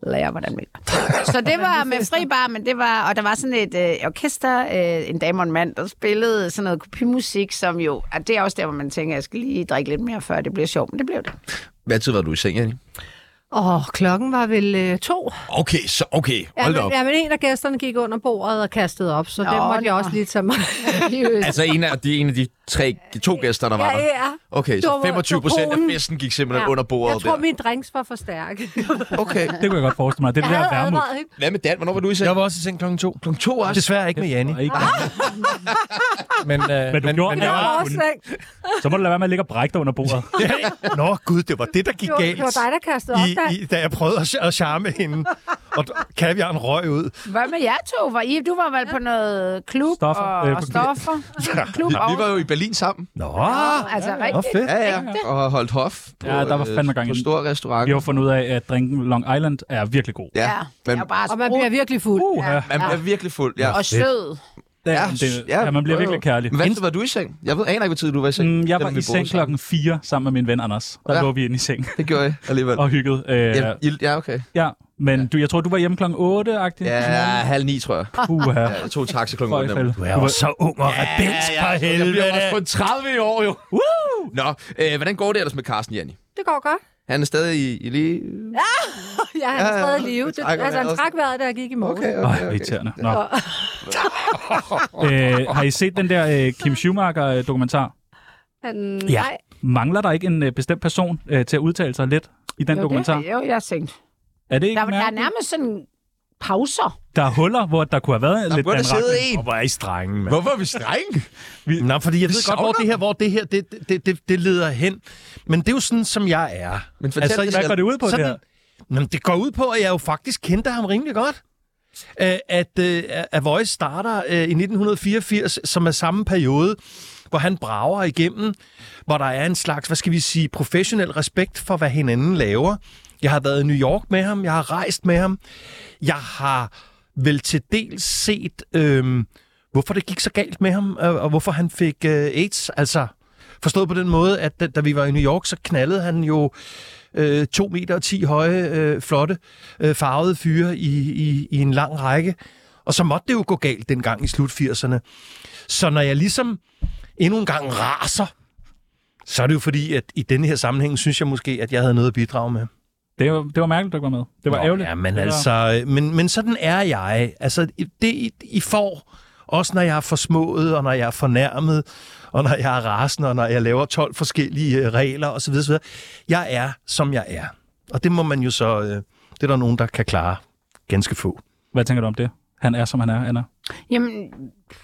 Speaker 5: lære, hvordan vi gør. Så det var med fri bar, men det var... Og der var sådan et øh, orkester, øh, en dame og en mand, der spillede sådan noget kopimusik, som jo... At det er også der, hvor man tænker, jeg skal lige drikke lidt mere, før det bliver sjovt. Men det blev det.
Speaker 2: Hvad tid var du i seng, Annie?
Speaker 3: Åh, klokken var vel øh, to.
Speaker 2: Okay, så okay.
Speaker 3: Ja,
Speaker 2: Hold da
Speaker 3: men,
Speaker 2: op.
Speaker 3: ja, men en af gæsterne gik under bordet og kastede op, så det
Speaker 5: Nå,
Speaker 3: måtte jeg
Speaker 5: nå.
Speaker 3: også lige tage mig.
Speaker 2: Altså en af de, en af de tre, de to gæster, der var
Speaker 3: ja,
Speaker 2: der.
Speaker 3: ja.
Speaker 2: Okay,
Speaker 3: Det
Speaker 2: så
Speaker 3: var-
Speaker 2: 25
Speaker 3: det var
Speaker 2: procent af
Speaker 3: konen.
Speaker 2: festen gik simpelthen
Speaker 3: Ja.
Speaker 2: under
Speaker 3: Jeg
Speaker 2: bordet
Speaker 3: tror,
Speaker 2: der.
Speaker 3: mine drinks var for stærke.
Speaker 2: Okay.
Speaker 1: Det kunne jeg godt forestille mig. Det er
Speaker 3: Jeg
Speaker 1: det der
Speaker 3: havde
Speaker 1: værmod.
Speaker 3: advaret hende.
Speaker 2: Hvad med Dan? Hvornår var du i seng?
Speaker 4: Jeg var også i seng klokken to.
Speaker 2: Klokken to også.
Speaker 4: Desværre ikke med Janni.
Speaker 1: Og ikke-
Speaker 4: Men, øh,
Speaker 1: Men du gjorde
Speaker 3: Det
Speaker 1: Ja,
Speaker 3: var
Speaker 1: hun-
Speaker 3: også ikke.
Speaker 1: Så må du lade være med at ligge og brække dig under bordet.
Speaker 4: Nå gud, det var det, der gik
Speaker 3: Det var,
Speaker 4: galt.
Speaker 3: det var dig, der kastede op, der.
Speaker 4: i, i, da jeg prøvede at, at charme hende. Og d- kaviaren røg ud.
Speaker 5: Hvad med jer to? Var I, du var vel på noget klub
Speaker 1: Stoffer.
Speaker 5: og,
Speaker 1: Øh,
Speaker 5: og
Speaker 1: på-
Speaker 5: stoffer? klub
Speaker 2: Vi var jo i Berlin sammen.
Speaker 4: Nå,
Speaker 5: altså
Speaker 4: hvor
Speaker 5: rigtigt.
Speaker 4: fedt.
Speaker 2: Ja, ja. Og holdt hof på,
Speaker 1: Ja, der var
Speaker 2: øh,
Speaker 1: fandme gang i
Speaker 2: på
Speaker 1: den.
Speaker 2: stor restaurant.
Speaker 1: Vi har jo fundet ud af, at drinken Long Island er virkelig god.
Speaker 2: Ja,
Speaker 5: Ja,
Speaker 2: man,
Speaker 5: jeg var bare
Speaker 3: Og man bliver virkelig fuld.
Speaker 1: Uh, ja.
Speaker 2: man bliver virkelig fuld. Ja.
Speaker 5: og sød.
Speaker 1: Det,
Speaker 2: Ja,
Speaker 1: ja, det,
Speaker 2: ja,
Speaker 1: ja, ja, man bliver
Speaker 2: jo, jo.
Speaker 1: virkelig kærlig.
Speaker 2: Hvad tid var du i seng? Jeg ved aner ikke, hvor tid du var i seng.
Speaker 1: Mm, jeg
Speaker 2: da
Speaker 1: var
Speaker 2: vi
Speaker 1: i
Speaker 2: boede
Speaker 1: seng
Speaker 2: sammen.
Speaker 1: klokken 4 sammen med min ven Anders. Der
Speaker 2: Ja.
Speaker 1: ja. lå vi inde i seng
Speaker 2: Det gjorde jeg alligevel.
Speaker 1: og hyggede. Øh,
Speaker 2: Ja, I- ja, okay.
Speaker 1: ja. Men du, jeg tror, du var hjemme klokken 8-agtig.
Speaker 3: Mm.
Speaker 2: Ja, halv ni, tror jeg.
Speaker 1: Puh, her.
Speaker 2: Jeg tog taxa klokken otte, nemlig.
Speaker 1: Fløjfald.
Speaker 4: Du er også så ung og rebelsk for
Speaker 2: Jeg bliver
Speaker 4: helvede.
Speaker 2: også kun 30 i år, jo. Woo! Nå, øh, hvordan går det ellers med Carsten, Janni?
Speaker 3: Det går godt.
Speaker 2: Han er stadig i, i lige...
Speaker 3: Jeg
Speaker 2: Ja,
Speaker 3: har
Speaker 2: ja,
Speaker 3: stadig
Speaker 2: ja.
Speaker 3: live. Det,
Speaker 2: Tak, og
Speaker 3: altså, han
Speaker 2: jeg også-
Speaker 3: trak vejret, da jeg gik i morgen.
Speaker 2: Okay,
Speaker 1: Åh,
Speaker 2: okay,
Speaker 1: hvor
Speaker 2: okay.
Speaker 1: irriterende. Nå. øh, har I set den der øh, Kim Schumacher-dokumentar?
Speaker 3: Han,
Speaker 4: Ja.
Speaker 3: nej,
Speaker 1: Mangler der ikke en øh, bestemt person øh, til at udtale sig lidt i den
Speaker 5: Jo,
Speaker 1: dokumentar?
Speaker 5: det, jo, jeg tænkte.
Speaker 1: Er det ikke
Speaker 5: Der, der er
Speaker 1: mærkeligt?
Speaker 5: nærmest sådan pauser.
Speaker 1: Der er huller, hvor der kunne have været lidt
Speaker 2: burde have siddet
Speaker 1: anretning.
Speaker 2: en.
Speaker 4: Hvor er I strenge, mand.
Speaker 2: Hvorfor er vi strenge?
Speaker 4: Nå, fordi jeg ved godt,
Speaker 2: savner
Speaker 4: hvor det her, hvor det her det, det- det, det, det leder hen. Men det er jo sådan, som jeg er. Altså,
Speaker 2: Men fortæl det
Speaker 1: Hvad
Speaker 2: selv.
Speaker 1: går det ud på, det her?
Speaker 4: Jamen, det går ud på, at jeg jo faktisk kendte ham rimelig godt. Øh, At, øh, at Voice starter øh, i 1984, som er samme periode, hvor han brager igennem, hvor der er en slags, hvad skal vi sige, professionel respekt for, hvad hinanden laver. Jeg har været i New York med ham, jeg har rejst med ham, jeg har vel til dels set, øh, hvorfor det gik så galt med ham, øh, og hvorfor han fik øh, AIDS. Altså, forstået på den måde, at da, da vi var i New York, så knaldede han jo øh, 2 meter og 10 høje, øh, flotte, øh, farvede fyre i, i, i en lang række. Og så måtte det jo gå galt dengang i slut 80'erne. Så når jeg ligesom endnu en gang raser, så er det jo fordi, at i denne her sammenhæng, synes jeg måske, at jeg havde noget at bidrage med.
Speaker 1: Det var, det var mærkeligt, du ikke var med. Det var
Speaker 4: Nå,
Speaker 1: ærgerligt.
Speaker 4: Ja, men,
Speaker 1: Det var-
Speaker 4: altså, øh, men, men sådan er jeg. Altså, i- det I- I får, også når jeg er forsmået, og når jeg er fornærmet, og når jeg er rasende, og når jeg laver 12 forskellige øh, regler osv. osv. Jeg er, som jeg er. Og det må man jo så... Øh, det er der nogen, der kan klare ganske få.
Speaker 1: Hvad tænker du om det? Han er, som han er, Anna.
Speaker 5: Jamen,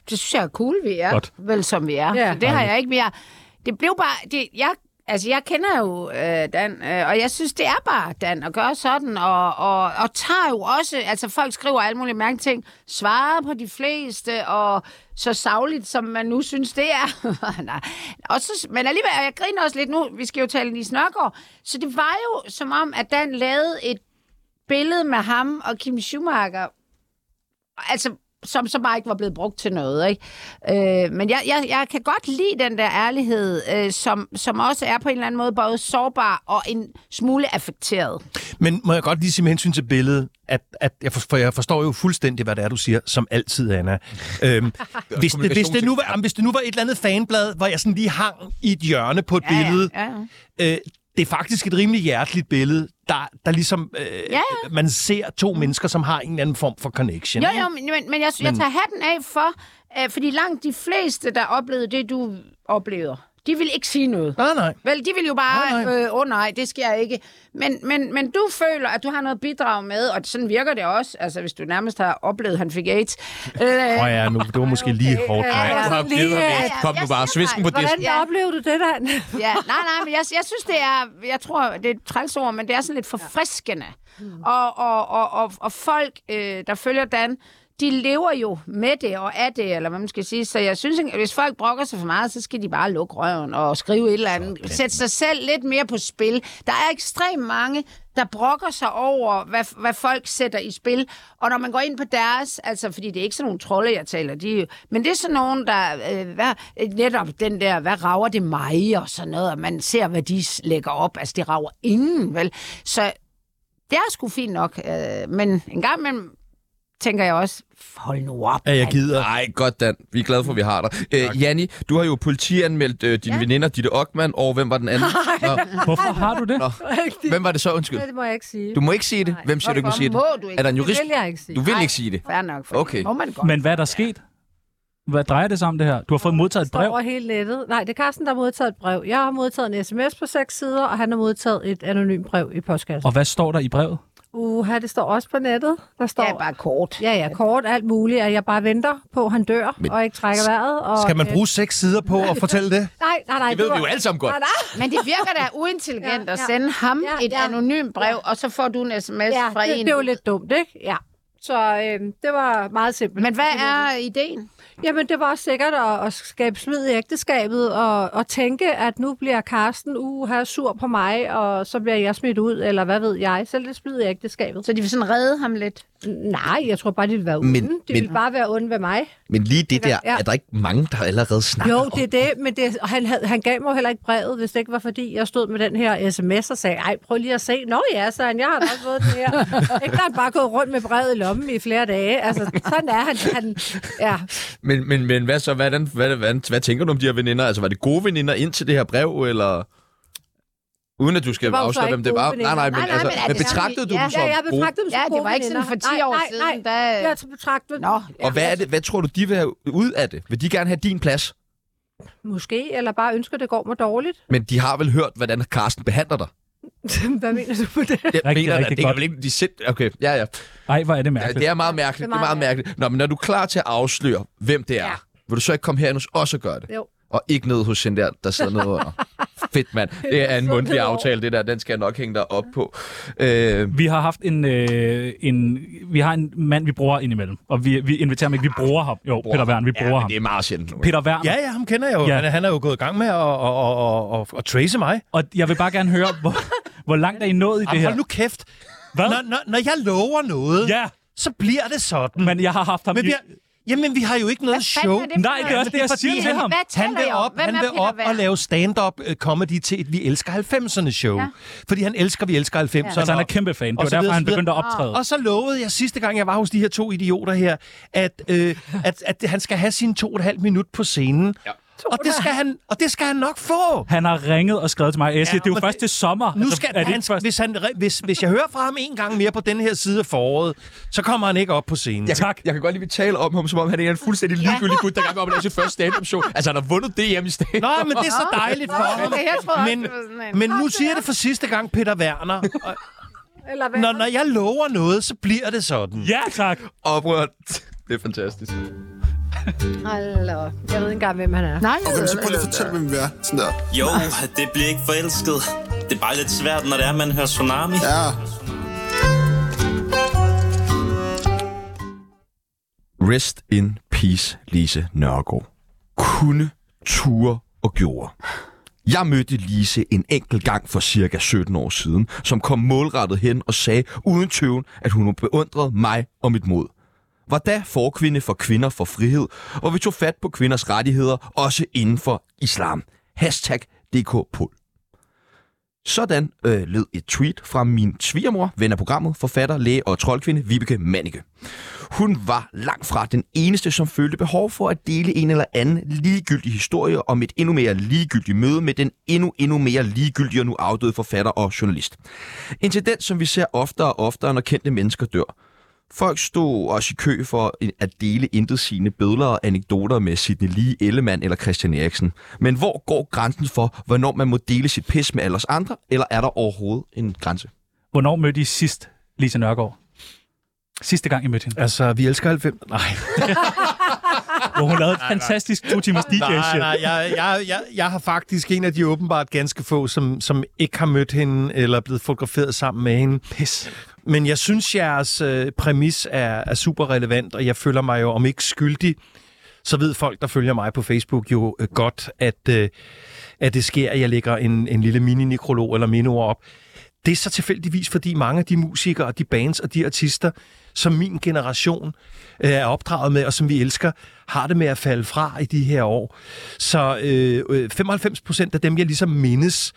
Speaker 5: det synes jeg er cool, vi er.
Speaker 1: Godt.
Speaker 5: Vel, som vi er.
Speaker 3: Ja.
Speaker 5: Ja. Så det har jeg ikke mere. Det blev bare... Det, jeg, altså, jeg kender jo øh, Dan, øh, og jeg synes, det er bare Dan at gøre sådan, og, og, og tager jo også... Altså, folk skriver alle mulige mærkelige ting, svarer på de fleste, og så savligt, som man nu synes, det er. Nej. Og så, men alligevel, og jeg griner også lidt nu, vi skal jo tale i Nørgaard, så det var jo som om, at Dan lavede et billede med ham og Kim Schumacher, altså som så bare ikke var blevet brugt til noget. Ikke? Øh, men jeg, jeg, jeg kan godt lide den der ærlighed, øh, som, som også er på en eller anden måde både sårbar og en smule affekteret.
Speaker 4: Men må jeg godt lige sige med hensyn til billedet, at, at jeg, for, for jeg forstår jo fuldstændig, hvad det er, du siger, som altid, Anna. Øhm, hvis, det, hvis, det nu var, jamen, hvis det nu var et eller andet fanblad, hvor jeg sådan lige hang i et hjørne på et ja, billede,
Speaker 5: Ja, ja, ja.
Speaker 4: ja. Øh, det er faktisk et rimelig hjerteligt billede, der, der ligesom, øh, ja,
Speaker 5: ja. Mm.
Speaker 4: ja. man ser to mennesker, som har en eller anden form for connection.
Speaker 5: Jo, jo, men, men, men jeg, jeg tager hatten af for, øh, fordi langt de fleste, der oplevede det, du oplever, de vil ikke sige noget.
Speaker 4: Nej, nej.
Speaker 5: Vel, de vil jo bare,
Speaker 4: Nej,
Speaker 5: åh øh, oh, nej, det sker ikke. Men, men, men du føler, at du har noget bidrag med, og sådan virker det også, altså hvis du nærmest har oplevet, at han fik AIDS. Øh,
Speaker 4: Åh oh, ja, nu, det var måske lige hårdt.
Speaker 5: ja,
Speaker 2: Nej,
Speaker 5: ja.
Speaker 2: kom nu,
Speaker 3: Lige, øh,
Speaker 2: gider
Speaker 5: ja,
Speaker 2: ham ikke.
Speaker 5: ja,
Speaker 2: Kom
Speaker 5: jeg
Speaker 2: nu bare,
Speaker 5: siger
Speaker 2: svisken
Speaker 5: nej.
Speaker 2: på
Speaker 3: Hvordan
Speaker 2: disken.
Speaker 5: Ja.
Speaker 3: oplevede du det, Dan?
Speaker 5: ja, nej, nej, men jeg, jeg synes, det er, jeg tror, det er et træls ord, men det er sådan lidt forfriskende. Og, og, og, og, og folk, øh, der følger Dan, de lever jo med det og af det, eller hvad man skal sige. Så jeg synes, at hvis folk brokker sig for meget, så skal de bare lukke røven og skrive et eller andet. Sætte sig selv lidt mere på spil. Der er ekstremt mange, der brokker sig over, hvad, hvad folk sætter i spil. Og når man går ind på deres, altså fordi det er ikke sådan nogle trolde, jeg taler, de, er jo- men det er sådan nogen, der øh, hvad, øh, netop den der, hvad rager det mig og sådan noget, og man ser, hvad de s- lægger op. Altså det rager ingen, vel? Så det er sgu fint nok, øh, men en gang imellem tænker jeg også, hold nu op.
Speaker 4: Ja,
Speaker 2: Altså,
Speaker 4: jeg gider.
Speaker 2: Nej, godt Dan. Vi er glade for, at vi har dig. Æ, Janni, du har jo politianmeldt øh, dine ja. veninder, Ditte Ockmann, og hvem var den anden? Nå,
Speaker 1: Hvorfor har du det?
Speaker 2: hvem var det så? Undskyld.
Speaker 3: Det må jeg ikke sige.
Speaker 2: Du må ikke sige det. Hvem siger, du ikke må sige det?
Speaker 5: Hvorfor må du ikke?
Speaker 2: Er der en
Speaker 3: Det
Speaker 2: jurist?
Speaker 3: vil jeg ikke sige.
Speaker 2: Du vil
Speaker 5: Nej.
Speaker 2: ikke sige det.
Speaker 5: Fair nok, for
Speaker 2: Okay.
Speaker 5: det må man godt.
Speaker 1: Men hvad er der sket? Hvad drejer det sig om det her? Du har fået modtaget et
Speaker 3: brev?
Speaker 1: brev.
Speaker 3: over hele nettet. Nej, det er Carsten, der har modtaget et brev. Jeg har modtaget en sms på seks sider, og han har modtaget et anonymt brev i postkassen.
Speaker 1: Og hvad står der i brevet?
Speaker 3: Uha, det står også på nettet. Der står...
Speaker 5: Det er bare kort.
Speaker 3: Ja, ja, kort, alt muligt, at jeg bare venter på, at han dør Men... og ikke trækker vejret. Og,
Speaker 4: Skal man bruge seks sider på at fortælle det?
Speaker 3: Øh, nej, nej, nej.
Speaker 2: Det ved
Speaker 3: var-
Speaker 2: vi jo alle sammen godt.
Speaker 3: Nej, nej.
Speaker 5: Men det virker da uintelligent
Speaker 3: Ja,
Speaker 5: ja, at
Speaker 3: ja.
Speaker 5: sende ham
Speaker 3: Ja,
Speaker 5: et
Speaker 3: ja.
Speaker 5: anonymt brev, og så får du en sms
Speaker 3: Ja,
Speaker 5: Altså, fra
Speaker 3: det,
Speaker 5: en.
Speaker 3: det er jo lidt dumt, ikke? Ja. Så øh, det var meget simpelt.
Speaker 5: Men hvad er ideen?
Speaker 3: Jamen, det var også sikkert at, at skabe smid i ægteskabet, og, og tænke, at nu bliver Karsten uha sur på mig, og så bliver jeg smidt ud, eller hvad ved jeg. Selv det smid i ægteskabet.
Speaker 5: Så de vil sådan redde ham lidt.
Speaker 3: Nej, jeg tror bare, de ville være onde.
Speaker 2: Men-
Speaker 3: Men, de
Speaker 2: men-
Speaker 3: ville bare være onde ved mig.
Speaker 2: Men lige det der,
Speaker 3: Ja.
Speaker 2: er der ikke mange, der allerede snakker
Speaker 3: Jo,
Speaker 2: om?
Speaker 3: det er det, men det, og han, havde, han gav mig jo heller ikke brevet, hvis det ikke var fordi, jeg stod med den her sms og sagde, ej, prøv lige at se. Nå ja, så han, jeg har nok fået det her. ikke, der han bare gået rundt med brevet i lommen i flere dage. Altså, sådan er han. han ja.
Speaker 2: Men, men, men hvad så? Hvordan, hvad, hvad, hvad tænker du om de her veninder? Altså, var det gode veninder ind til det her brev, eller... Uden at du skal
Speaker 3: var jo så
Speaker 2: afsløre,
Speaker 3: ikke
Speaker 2: hvem det
Speaker 3: gode
Speaker 2: var.
Speaker 3: veninder.
Speaker 2: Nej, nej, men,
Speaker 5: Nej, nej,
Speaker 2: altså,
Speaker 5: men er
Speaker 2: men
Speaker 5: det
Speaker 2: betragtede
Speaker 5: sådan-
Speaker 2: du
Speaker 5: ja.
Speaker 2: dem
Speaker 3: Ja,
Speaker 2: som
Speaker 3: jeg
Speaker 2: gode?
Speaker 3: betragtede dem som
Speaker 5: Ja, det
Speaker 3: gode
Speaker 5: var ikke sådan
Speaker 3: veninder.
Speaker 5: for 10
Speaker 3: nej,
Speaker 5: år
Speaker 3: nej,
Speaker 5: siden,
Speaker 3: Nej,
Speaker 5: da-
Speaker 3: Jeg betragtede dem.
Speaker 5: Nå.
Speaker 2: Og hvad, er det, hvad tror du, de vil have ud af det? Vil de gerne have din plads?
Speaker 3: Måske, eller bare ønsker, det går mig dårligt.
Speaker 2: Men de har vel hørt, hvordan Carsten behandler dig?
Speaker 3: Hvad mener du på det?
Speaker 2: Jeg
Speaker 1: Rigtig,
Speaker 2: da,
Speaker 1: rigtig
Speaker 2: det kan
Speaker 1: godt.
Speaker 2: vel ikke, de sind... Okay, ja, ja.
Speaker 1: Ej, hvor er det
Speaker 2: ja
Speaker 1: mærkeligt.
Speaker 2: det er meget mærkeligt. Det er meget mærkeligt. Nå, men når du er klar til at afsløre, hvem det er,
Speaker 5: Ja.
Speaker 2: vil du så ikke komme herhen hos os og gøre det?
Speaker 3: Jo.
Speaker 2: Og ikke ned hos hende der, der sidder nede under. Fedt, mand. Det er en
Speaker 3: Så
Speaker 2: mundtlig
Speaker 3: nede over.
Speaker 2: aftale, det der. Den skal jeg nok hænge dig op på. Øh,
Speaker 1: Vi har haft en, øh, en... Vi har en mand, vi bruger indimellem. Og vi, vi inviterer ham ikke. Vi bruger ham. Jo, Peter Wern, vi bruger
Speaker 2: ja,
Speaker 1: ham.
Speaker 2: men det er meget sjældent. nu.
Speaker 1: Peter Wern.
Speaker 4: Ja, ja, ham kender jeg jo.
Speaker 1: Ja.
Speaker 4: Ja. Han, han er jo gået i gang med at, at, at, at, at trace mig.
Speaker 1: Og jeg vil bare gerne høre, hvor, hvor langt er I nået i det
Speaker 4: Jamen,
Speaker 1: her?
Speaker 4: hold nu kæft.
Speaker 1: Hvad?
Speaker 4: Når, når, når jeg lover noget,
Speaker 1: Ja,
Speaker 4: så bliver det sådan.
Speaker 1: men jeg har haft ham...
Speaker 4: Men
Speaker 1: i-
Speaker 4: vi har, jamen, vi har jo ikke noget
Speaker 5: Hvad fanden
Speaker 4: show.
Speaker 5: er det?
Speaker 1: Nej, det er også det, jeg siger til
Speaker 5: han-
Speaker 1: ham.
Speaker 5: Hvad taler
Speaker 4: Han vil
Speaker 5: I om?
Speaker 4: op,
Speaker 5: Hvem
Speaker 4: han
Speaker 5: er
Speaker 4: vil
Speaker 5: Peter
Speaker 4: op
Speaker 5: Wern?
Speaker 4: og lave stand-up øh, comedy til et Vi elsker 90'erne show.
Speaker 5: Ja.
Speaker 4: Ja. Fordi han elsker Vi elsker 90'erne.
Speaker 1: Altså, han er kæmpe fan. Det
Speaker 4: Og
Speaker 1: var
Speaker 4: så
Speaker 1: derfor,
Speaker 4: videre,
Speaker 1: han
Speaker 4: så videre.
Speaker 1: begyndte at optræde.
Speaker 5: Ah.
Speaker 4: Og så lovede jeg sidste gang, jeg var hos de her to idioter her, at, øh, at, at han skal have sine to og et halvt minut på scenen. Ja. Og det, skal han, og det skal han nok få.
Speaker 1: Han har ringet og skrevet til mig, jeg siger,
Speaker 4: Ja,
Speaker 1: ja, det er jo
Speaker 4: men
Speaker 1: først
Speaker 4: det-
Speaker 1: til sommer.
Speaker 4: Nu
Speaker 1: Altså,
Speaker 4: skal
Speaker 1: er det
Speaker 4: han,
Speaker 1: ikke først?
Speaker 4: hvis, han, re- hvis, hvis jeg hører fra ham en gang mere på den her side af foråret, så kommer han ikke op på scenen.
Speaker 2: Jeg,
Speaker 1: Tak.
Speaker 2: Kan, jeg kan godt lide, at vi taler om ham, som om han er en fuldstændig ligegyldig gut, der gerne vil op og lave sit første stand-up show. Altså, han har vundet DM i stand
Speaker 4: Nå, men det er så dejligt for ham.
Speaker 5: Okay, jeg troede også,
Speaker 4: Men,
Speaker 5: det var sådan en-
Speaker 4: men nu siger jeg det for sidste gang, Peter Werner. Og
Speaker 3: Eller hvad?
Speaker 4: Når, når jeg lover noget, så bliver det sådan.
Speaker 1: Ja, tak.
Speaker 2: Oprør. Det er fantastisk.
Speaker 3: Hallo. Jeg ved ikke engang, hvem han er.
Speaker 5: Nej,
Speaker 6: Okay, men så prøv lige at fortælle, hvem vi er. Sådan der.
Speaker 7: Jo, det bliver ikke forelsket. Det er bare lidt svært, når det er, man hører tsunami.
Speaker 6: Ja.
Speaker 2: Rest in peace, Lise Nørgaard. Kunne, ture og gjorde. Jeg mødte Lise en enkelt gang for cirka 17 år siden, som kom målrettet hen og sagde uden tøven, at hun beundrede mig og mit mod. var da forkvinde for kvinder for frihed, hvor vi tog fat på kvinders rettigheder, også inden for islam. Hashtag DKPol. Sådan øh, lød et tweet fra min svigermor, ven af programmet, forfatter, læge og troldkvinde Vibeke Mannike. Hun var langt fra den eneste, som følte behov for at dele en eller anden ligegyldig historie om et endnu mere ligegyldigt møde med den endnu, endnu mere ligegyldige og nu afdøde forfatter og journalist. En tendens, som vi ser oftere og oftere, når kendte mennesker dør. Folk stod også i kø for at dele intet sine billeder og anekdoter med Sidney Lee, Ellemann eller Christian Eriksen. Men hvor går grænsen for, hvornår man må dele sit pis med alle os andre, eller er der overhovedet en grænse?
Speaker 1: Hvornår mødte I sidst Lise Nørgaard? Sidste gang, I mødte hende.
Speaker 4: Altså, vi elsker 90. Nej,
Speaker 1: Hvor hun lavede et fantastisk to timers dj
Speaker 4: nej,
Speaker 1: shit
Speaker 4: nej jeg, jeg, jeg, jeg har faktisk en af de åbenbart ganske få, som, som ikke har mødt hende eller er blevet fotograferet sammen med hende. Pis. Men jeg synes, jeres øh, præmis er, er super relevant, og jeg føler mig jo, om ikke skyldig, så ved folk, der følger mig på Facebook jo øh, godt, at, øh, at det sker, at jeg lægger en, en lille mini-nekrolog eller mindeord op. Det er så tilfældigvis, fordi mange af de musikere, og de bands og de artister, som min generation øh, er opdraget med, og som vi elsker, har det med at falde fra i de her år. Så øh, øh, 95 procent af dem, jeg ligesom mindes,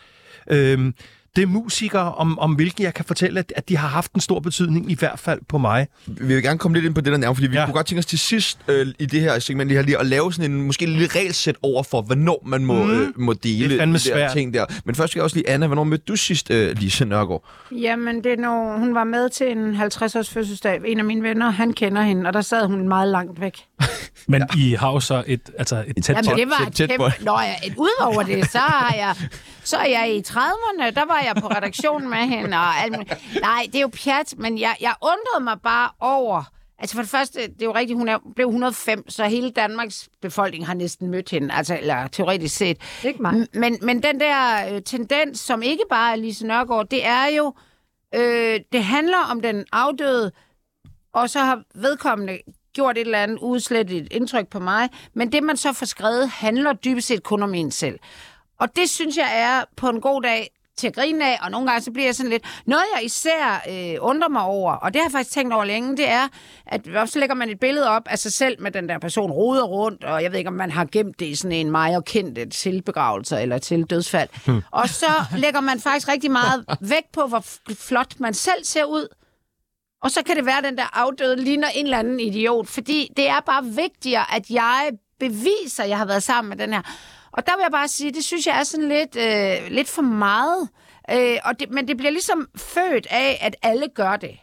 Speaker 4: øh, det er musikere, om, om hvilke jeg kan fortælle, at, at de har haft en stor betydning, i hvert fald på mig.
Speaker 2: Vi vil gerne komme lidt ind på det der nærmere, fordi vi ja.
Speaker 4: Ja.
Speaker 2: kunne godt tænke os til sidst øh, i det her segment lige her, lige at lave sådan en måske en lille regelsæt over for, hvornår man må, mm. øh, må dele
Speaker 4: Det er fandme
Speaker 2: de der
Speaker 4: svært.
Speaker 2: ting der. Men først skal jeg også lige, Anna, hvornår mødte du sidst øh, Lise Nørgaard?
Speaker 5: Jamen, det er når hun var med til en 50-års fødselsdag. En af mine venner, han kender hende, og der sad hun meget langt væk.
Speaker 1: Men I har jo så et, altså et tæt
Speaker 5: Jamen,
Speaker 1: bånd.
Speaker 5: det var
Speaker 2: tæt-
Speaker 5: et
Speaker 2: tæt på.
Speaker 5: kæmpe... Nå ja, et- udover det, så, har jeg, så er jeg i 30'erne, der var jeg på redaktion med hende. Og alt, muligt. nej, det er jo pjat, men jeg, jeg undrede mig bare over... Altså for det første, det er jo rigtigt, hun er, blev 105, så hele Danmarks befolkning har næsten mødt hende, altså, eller teoretisk set.
Speaker 3: Ikke mig.
Speaker 5: M- Men, men den der øh, tendens, som ikke bare er Lise Nørgaard, det er jo, øh, det handler om den afdøde, og så har vedkommende gjort et eller andet udslættet indtryk på mig, men det, man så får skrevet, handler dybest set kun om en selv. Og det synes jeg er på en god dag til at grine af, og nogle gange så bliver jeg sådan lidt... Noget, jeg især øh, undrer mig over, og det har jeg faktisk tænkt over længe, det er, at så lægger man et billede op af sig selv med den der person roder rundt, og jeg ved ikke, om man har gemt det i sådan en meget kendt til begravelse eller til dødsfald. Hmm. Og så lægger man faktisk rigtig meget vægt på, hvor f- flot man selv ser ud, og så kan det være, at den der afdøde ligner en eller anden idiot, fordi det er bare vigtigere, at jeg beviser, at jeg har været sammen med den her. Og der vil jeg bare sige, det synes jeg er sådan lidt, øh, lidt for meget. Øh, og det, men det bliver ligesom født af, at alle gør det.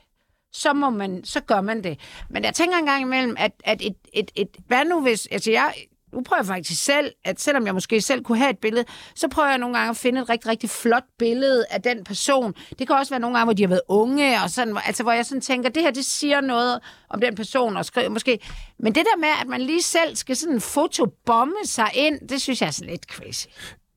Speaker 5: Så, må man, så gør man det. Men jeg tænker engang imellem, at, at et, et, et, hvad nu hvis... Altså jeg, nu prøver jeg faktisk selv, at selvom jeg måske selv kunne have et billede, så prøver jeg nogle gange at finde et rigtig, rigtig flot billede af den person. Det kan også være nogle gange, hvor de har været unge, og sådan, hvor- altså, hvor jeg sådan tænker, det her det siger noget om den person, og skriver måske. Men det der med, at man lige selv skal sådan fotobombe sig ind, det synes jeg er sådan lidt crazy.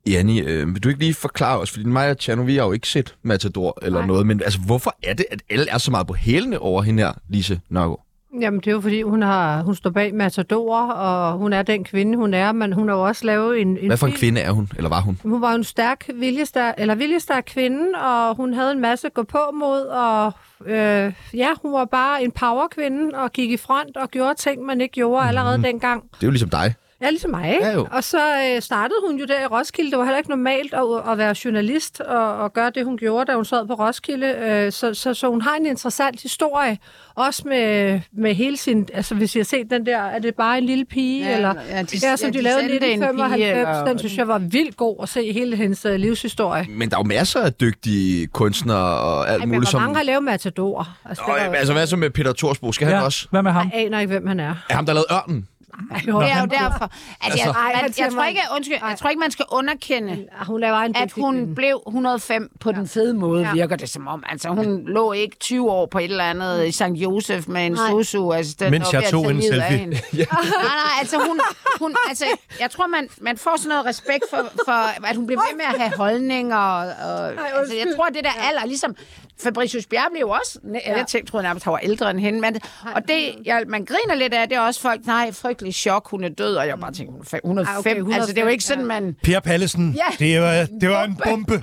Speaker 2: Janni, øh, vil du ikke lige forklare os, fordi mig og Tjerno, vi har jo ikke set Matador eller Nej.
Speaker 5: Nej.
Speaker 2: noget, men altså, hvorfor er det, at alle er så meget på hælene over hende her, Lise Nørgaard?
Speaker 3: Jamen, det er jo fordi, hun, har, hun står bag Matador, og hun er den kvinde, hun er, men hun har jo også lavet en... en
Speaker 2: Hvad for en
Speaker 3: film-
Speaker 2: kvinde er hun, eller var hun?
Speaker 3: Hun var jo en stærk viljestærk, eller viljestærk kvinde, og hun havde en masse gå på mod, og øh, ja, hun var bare en powerkvinde, og gik i front og gjorde ting, man ikke gjorde
Speaker 2: Mhm.
Speaker 3: allerede dengang.
Speaker 2: Det er jo ligesom dig.
Speaker 3: Ja, ligesom mig. Ikke?
Speaker 2: Ja, jo.
Speaker 3: Og så øh, startede hun jo der i Roskilde. Det var heller ikke normalt at, at være journalist og, og gøre det, hun gjorde, da hun sad på Roskilde. Øh, så, så, så hun har en interessant historie, også med, med hele sin... Altså, hvis I har set den der, er det bare en lille pige?
Speaker 5: Ja,
Speaker 3: eller,
Speaker 5: ja, de-
Speaker 3: ja, som
Speaker 5: ja,
Speaker 3: de,
Speaker 5: de
Speaker 3: lavede i
Speaker 5: sendte en pige,
Speaker 3: 1995.
Speaker 5: eller-
Speaker 3: Den synes jeg var vildt god at se hele hendes øh, livshistorie.
Speaker 2: Men der er jo masser af dygtige kunstnere og alt
Speaker 3: Ej,
Speaker 2: Ej,
Speaker 3: men
Speaker 2: muligt,
Speaker 3: hvor
Speaker 2: som...
Speaker 3: mange har lavet Matador? Altså,
Speaker 2: Nå,
Speaker 3: det var,
Speaker 2: jamen, altså, hvad så med Peter Torsbo? Skal ja. han også?
Speaker 1: Hvad med ham?
Speaker 3: jeg aner ikke, hvem han er.
Speaker 2: Er ham, der lavede ørnen?
Speaker 3: Jo,
Speaker 5: Det er jo derfor. Altså, jeg,
Speaker 3: Ej,
Speaker 5: jeg,
Speaker 3: han
Speaker 5: jeg,
Speaker 3: siger
Speaker 5: tror
Speaker 3: mig-
Speaker 5: ikke, undskyld, jeg tror ikke, man skal underkende
Speaker 3: Hun laver en
Speaker 5: at
Speaker 3: dygtig
Speaker 5: hun
Speaker 3: kvinde.
Speaker 5: blev 105 på ja. den fede måde,
Speaker 3: Ja.
Speaker 5: ja. virker det som om. Altså, hun lå ikke 20 år på et eller andet i St. Josef med en altså,
Speaker 3: Nej.
Speaker 5: sosu assistent
Speaker 4: Mens jeg tog en selfie.
Speaker 5: ja. Nej, nej, altså hun... hun altså, jeg tror, man, man får sådan noget respekt for, for, at hun blev ved med at have holdninger. Og, og, altså, jeg tror, det der alder, ligesom... Fabricius Bjerre blev jo også... Ja. Jeg tænkte, troede nærmest, han var ældre end hende. Men, og det, jeg, man griner lidt af, det er også folk, nej, frygtelig chok, hun er død. Og jeg bare tænker, hun er
Speaker 3: Ej,
Speaker 5: fe- 105. Ah,
Speaker 3: okay,
Speaker 5: okay, 105 altså, det er jo ikke sådan,
Speaker 3: ja.
Speaker 5: man...
Speaker 4: Per Pallesen,
Speaker 5: Ja.
Speaker 4: det, var, det var en bombe.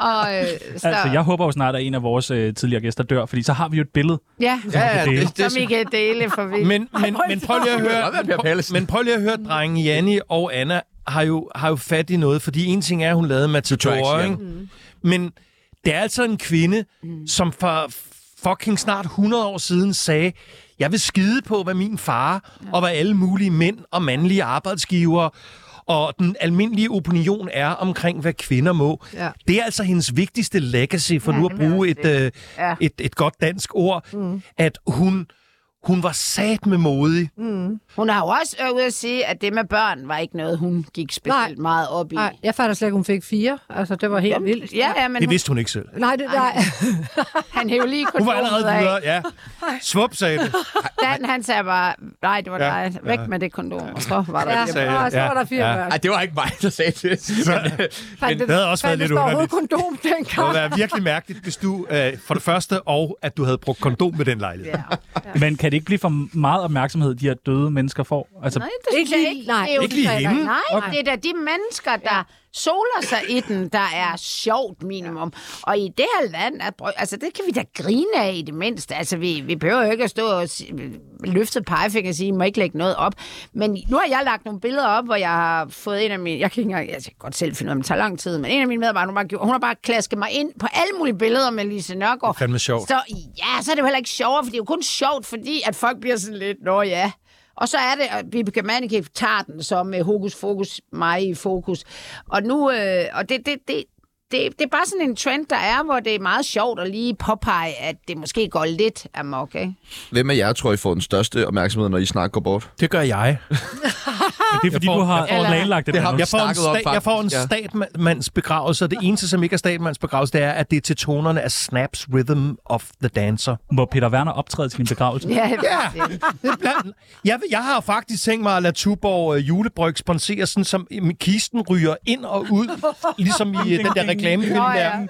Speaker 5: Og, øh, så,
Speaker 1: Altså, jeg håber jo snart, at en af vores øh, tidligere gæster dør, fordi så har vi jo et billede.
Speaker 5: ja,
Speaker 1: Ja, det, det.
Speaker 5: som I kan dele for vildt.
Speaker 4: Men, men, men prøv lige at høre, men prøv lige at høre, drengen Janni og Anna har jo, har jo fat i noget, fordi en ting er, at hun lavede Matador,
Speaker 2: Tracks, ja.
Speaker 4: ikke?
Speaker 5: Mm.
Speaker 4: Men det er altså en kvinde, som for fucking snart 100 år siden sagde, jeg vil skide på, hvad min far og hvad alle mulige mænd og mandlige arbejdsgivere og den almindelige opinion er omkring, hvad kvinder må.
Speaker 3: Ja.
Speaker 4: Det er altså hendes vigtigste legacy, for nu at
Speaker 5: det må jeg
Speaker 4: bruge
Speaker 5: også
Speaker 4: et, øh,
Speaker 5: Ja.
Speaker 4: et, et godt dansk ord, mm. at hun, hun var sat med modig.
Speaker 5: Hun har jo også været ude at sige, at det med børn var ikke noget, hun gik specielt meget op i.
Speaker 3: Nej, jeg fatter slet ikke, hun fik fire. Altså, det var helt Jamen, vildt.
Speaker 5: Ja, ja, men
Speaker 4: Det
Speaker 5: hun,
Speaker 4: vidste hun ikke selv.
Speaker 3: Nej, det, nej.
Speaker 5: han hævde lige
Speaker 4: Hun var
Speaker 5: kondomet
Speaker 4: allerede
Speaker 5: af.
Speaker 4: videre, ja. Svup, sagde det.
Speaker 5: Dan, han sagde bare, nej, det var
Speaker 4: Ja,
Speaker 5: dig. Væk med det kondom. Og så var der
Speaker 3: Ja,
Speaker 5: det.
Speaker 4: sagde jeg.
Speaker 3: og så var der fire
Speaker 4: Ja.
Speaker 3: ja. børn.
Speaker 2: Ej, det var ikke mig, der sagde det.
Speaker 3: Men,
Speaker 4: det havde også været lidt underligt.
Speaker 3: kondom
Speaker 4: Det
Speaker 3: dengang.
Speaker 4: ville være virkelig mærkeligt, hvis du, øh, for det første, og at du havde brugt kondom med den lejlighed.
Speaker 5: Ja.
Speaker 1: Men kan det ikke blive for meget opmærksomhed, de her døde mennesker får? Altså,
Speaker 5: Nej, det
Speaker 3: Ikke
Speaker 5: synes jeg
Speaker 3: lige-
Speaker 5: ikke.
Speaker 3: nej.
Speaker 5: det er jo
Speaker 4: Ikke lige
Speaker 5: det, der-
Speaker 4: hende.
Speaker 5: Nej, det er da de mennesker, der soler sig i den, der er sjovt minimum. Og i det her land, at, brø- altså det kan vi da grine af i det mindste. Altså vi, vi behøver jo ikke at stå og si- løfte pegefinger og sige, I må ikke lægge noget op. Men nu har jeg lagt nogle billeder op, hvor jeg har fået en af mine, jeg kan ikke engang, altså, jeg kan godt selv finde ud af, om det tager lang tid, men en af mine medarbejdere, hun, har bare gjort- hun har bare klasket mig ind på alle mulige billeder med Lise Nørgaard.
Speaker 4: Det er fandme sjovt.
Speaker 5: Så, ja, så er det jo heller ikke sjovere, for det er jo kun sjovt, fordi at folk bliver sådan lidt, nå ja. Og så er det, at Vibeke Mannicke tager den så med hokus fokus, mig i fokus. Og nu, øh, og det, det, det, det, det er bare sådan en trend, der er, hvor det er meget sjovt at lige påpege, at det måske går lidt amok, ikke?
Speaker 2: Hvem af jer tror, I får den største opmærksomhed, når I snart går bort?
Speaker 4: Det gør jeg.
Speaker 1: det er fordi,
Speaker 4: får-
Speaker 1: du har
Speaker 5: jeg får-
Speaker 1: planlagt det.
Speaker 2: Det har
Speaker 1: Magnus.
Speaker 2: jeg
Speaker 4: Jeg får en,
Speaker 2: Stakket op,
Speaker 4: sta- jeg får en
Speaker 2: faktisk, ja.
Speaker 4: statmandsbegravelse, og det eneste, som ikke er statmandsbegravelse, det er, at det er til tonerne af Snaps Rhythm of the Dancer.
Speaker 1: Må Peter Werner optræde til din begravelse?
Speaker 5: Ja,
Speaker 4: Det bliver- Jeg, vil- jeg har faktisk tænkt mig at lade Tuborg øh, julebryg sponsere, sådan som øh, kisten ryger ind og ud, ligesom i øh, den der reklamefilm
Speaker 5: Nå, ja.
Speaker 4: der.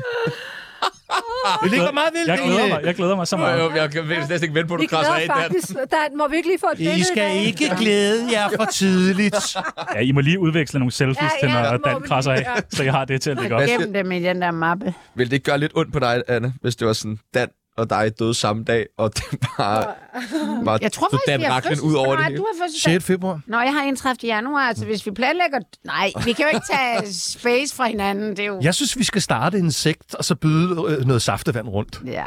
Speaker 4: Det ligger meget vildt.
Speaker 1: Jeg glæder
Speaker 4: egentlig.
Speaker 1: mig, jeg glæder mig så meget.
Speaker 2: Jeg, jeg, jeg vil næsten ikke vente på, at
Speaker 3: Vi
Speaker 2: du krasser
Speaker 3: glæder
Speaker 2: af der.
Speaker 3: faktisk. Dan, må vi ikke lige få et billede
Speaker 4: I
Speaker 3: i dag?
Speaker 4: skal ikke glæde jer for tidligt.
Speaker 1: Ja, I må lige udveksle nogle selfies
Speaker 3: Ja,
Speaker 1: til,
Speaker 3: ja,
Speaker 1: når
Speaker 3: det må
Speaker 1: Dan
Speaker 3: vi
Speaker 1: krasser
Speaker 3: lige
Speaker 1: af, så jeg har det til at lægge op.
Speaker 2: Hvad
Speaker 5: Gem dem i den der mappe.
Speaker 2: Vil det ikke gøre lidt ondt på dig, Anne, hvis det var sådan, Dan og dig døde samme dag, og det bare... bare
Speaker 5: Jeg tror
Speaker 2: så
Speaker 5: faktisk,
Speaker 2: Dan
Speaker 5: vi har
Speaker 2: raklen
Speaker 5: fødselsdag.
Speaker 2: ud over det
Speaker 5: Nej,
Speaker 2: hele.
Speaker 5: du har fødselsdag.
Speaker 4: 6. februar.
Speaker 5: Nå, jeg har 31. januar, altså hvis vi planlægger... Nej, vi kan jo ikke tage space fra hinanden, det er jo...
Speaker 4: Jeg synes, vi skal starte en sekt, og så byde øh, noget saftevand rundt.
Speaker 5: Ja.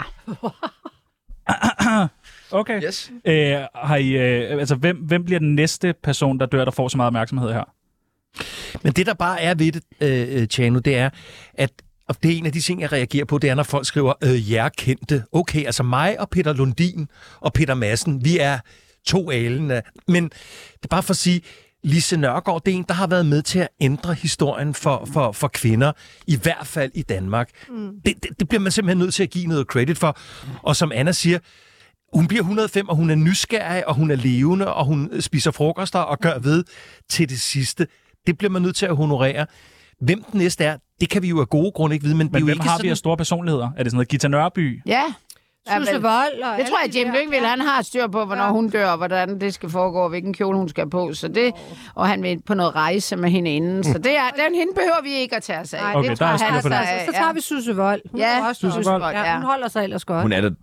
Speaker 1: Okay.
Speaker 2: Yes.
Speaker 1: Øh, har I, øh, altså, hvem, hvem bliver den næste person, der dør, der får så meget opmærksomhed her?
Speaker 4: Men det, der bare er ved det, øh, øh, Tjano, det er, at og det er en af de ting, jeg reagerer på, det er, når folk skriver, øh, jer kendte. Okay, altså mig og Peter Lundin og Peter Madsen, vi er to alene. Men det er bare for at sige, Lise Nørgaard, det er en, der har været med til at ændre historien for, for, for kvinder, i hvert fald i Danmark. Mm. Det, det, det bliver man simpelthen nødt til at give noget credit for. Og som Anna siger, hun bliver 105, og hun er nysgerrig, og hun er levende, og hun spiser frokoster og gør ved til det sidste. Det bliver man nødt til at honorere. Hvem den næste er, det kan vi jo af gode grunde ikke vide, men, det
Speaker 1: Men
Speaker 4: er jo
Speaker 1: hvem
Speaker 4: ikke
Speaker 1: har
Speaker 4: sådan...
Speaker 1: vi af store personligheder? Er det sådan noget Gita Nørby?
Speaker 5: Ja. Ja, vel.
Speaker 3: Susse Vold og
Speaker 5: Det
Speaker 3: alle
Speaker 5: tror jeg,
Speaker 3: de
Speaker 5: at Jim
Speaker 3: der.
Speaker 5: Lyngvild, han har styr på, hvornår hun dør, og hvordan det skal foregå, og hvilken kjole hun skal på. Så det, og han vil på noget rejse med hende inden. Så det er, den hende behøver vi ikke at tage os af.
Speaker 3: Mm. Nej,
Speaker 1: Okay,
Speaker 5: det
Speaker 1: der er styr
Speaker 5: han
Speaker 1: på det.
Speaker 5: altså-
Speaker 3: Altså, så tager vi Susse Vold. Hun
Speaker 5: Ja,
Speaker 3: er også
Speaker 5: Susse
Speaker 3: godt.
Speaker 5: Vold, ja.
Speaker 3: Ja, hun holder sig ellers godt.
Speaker 2: Hun er det.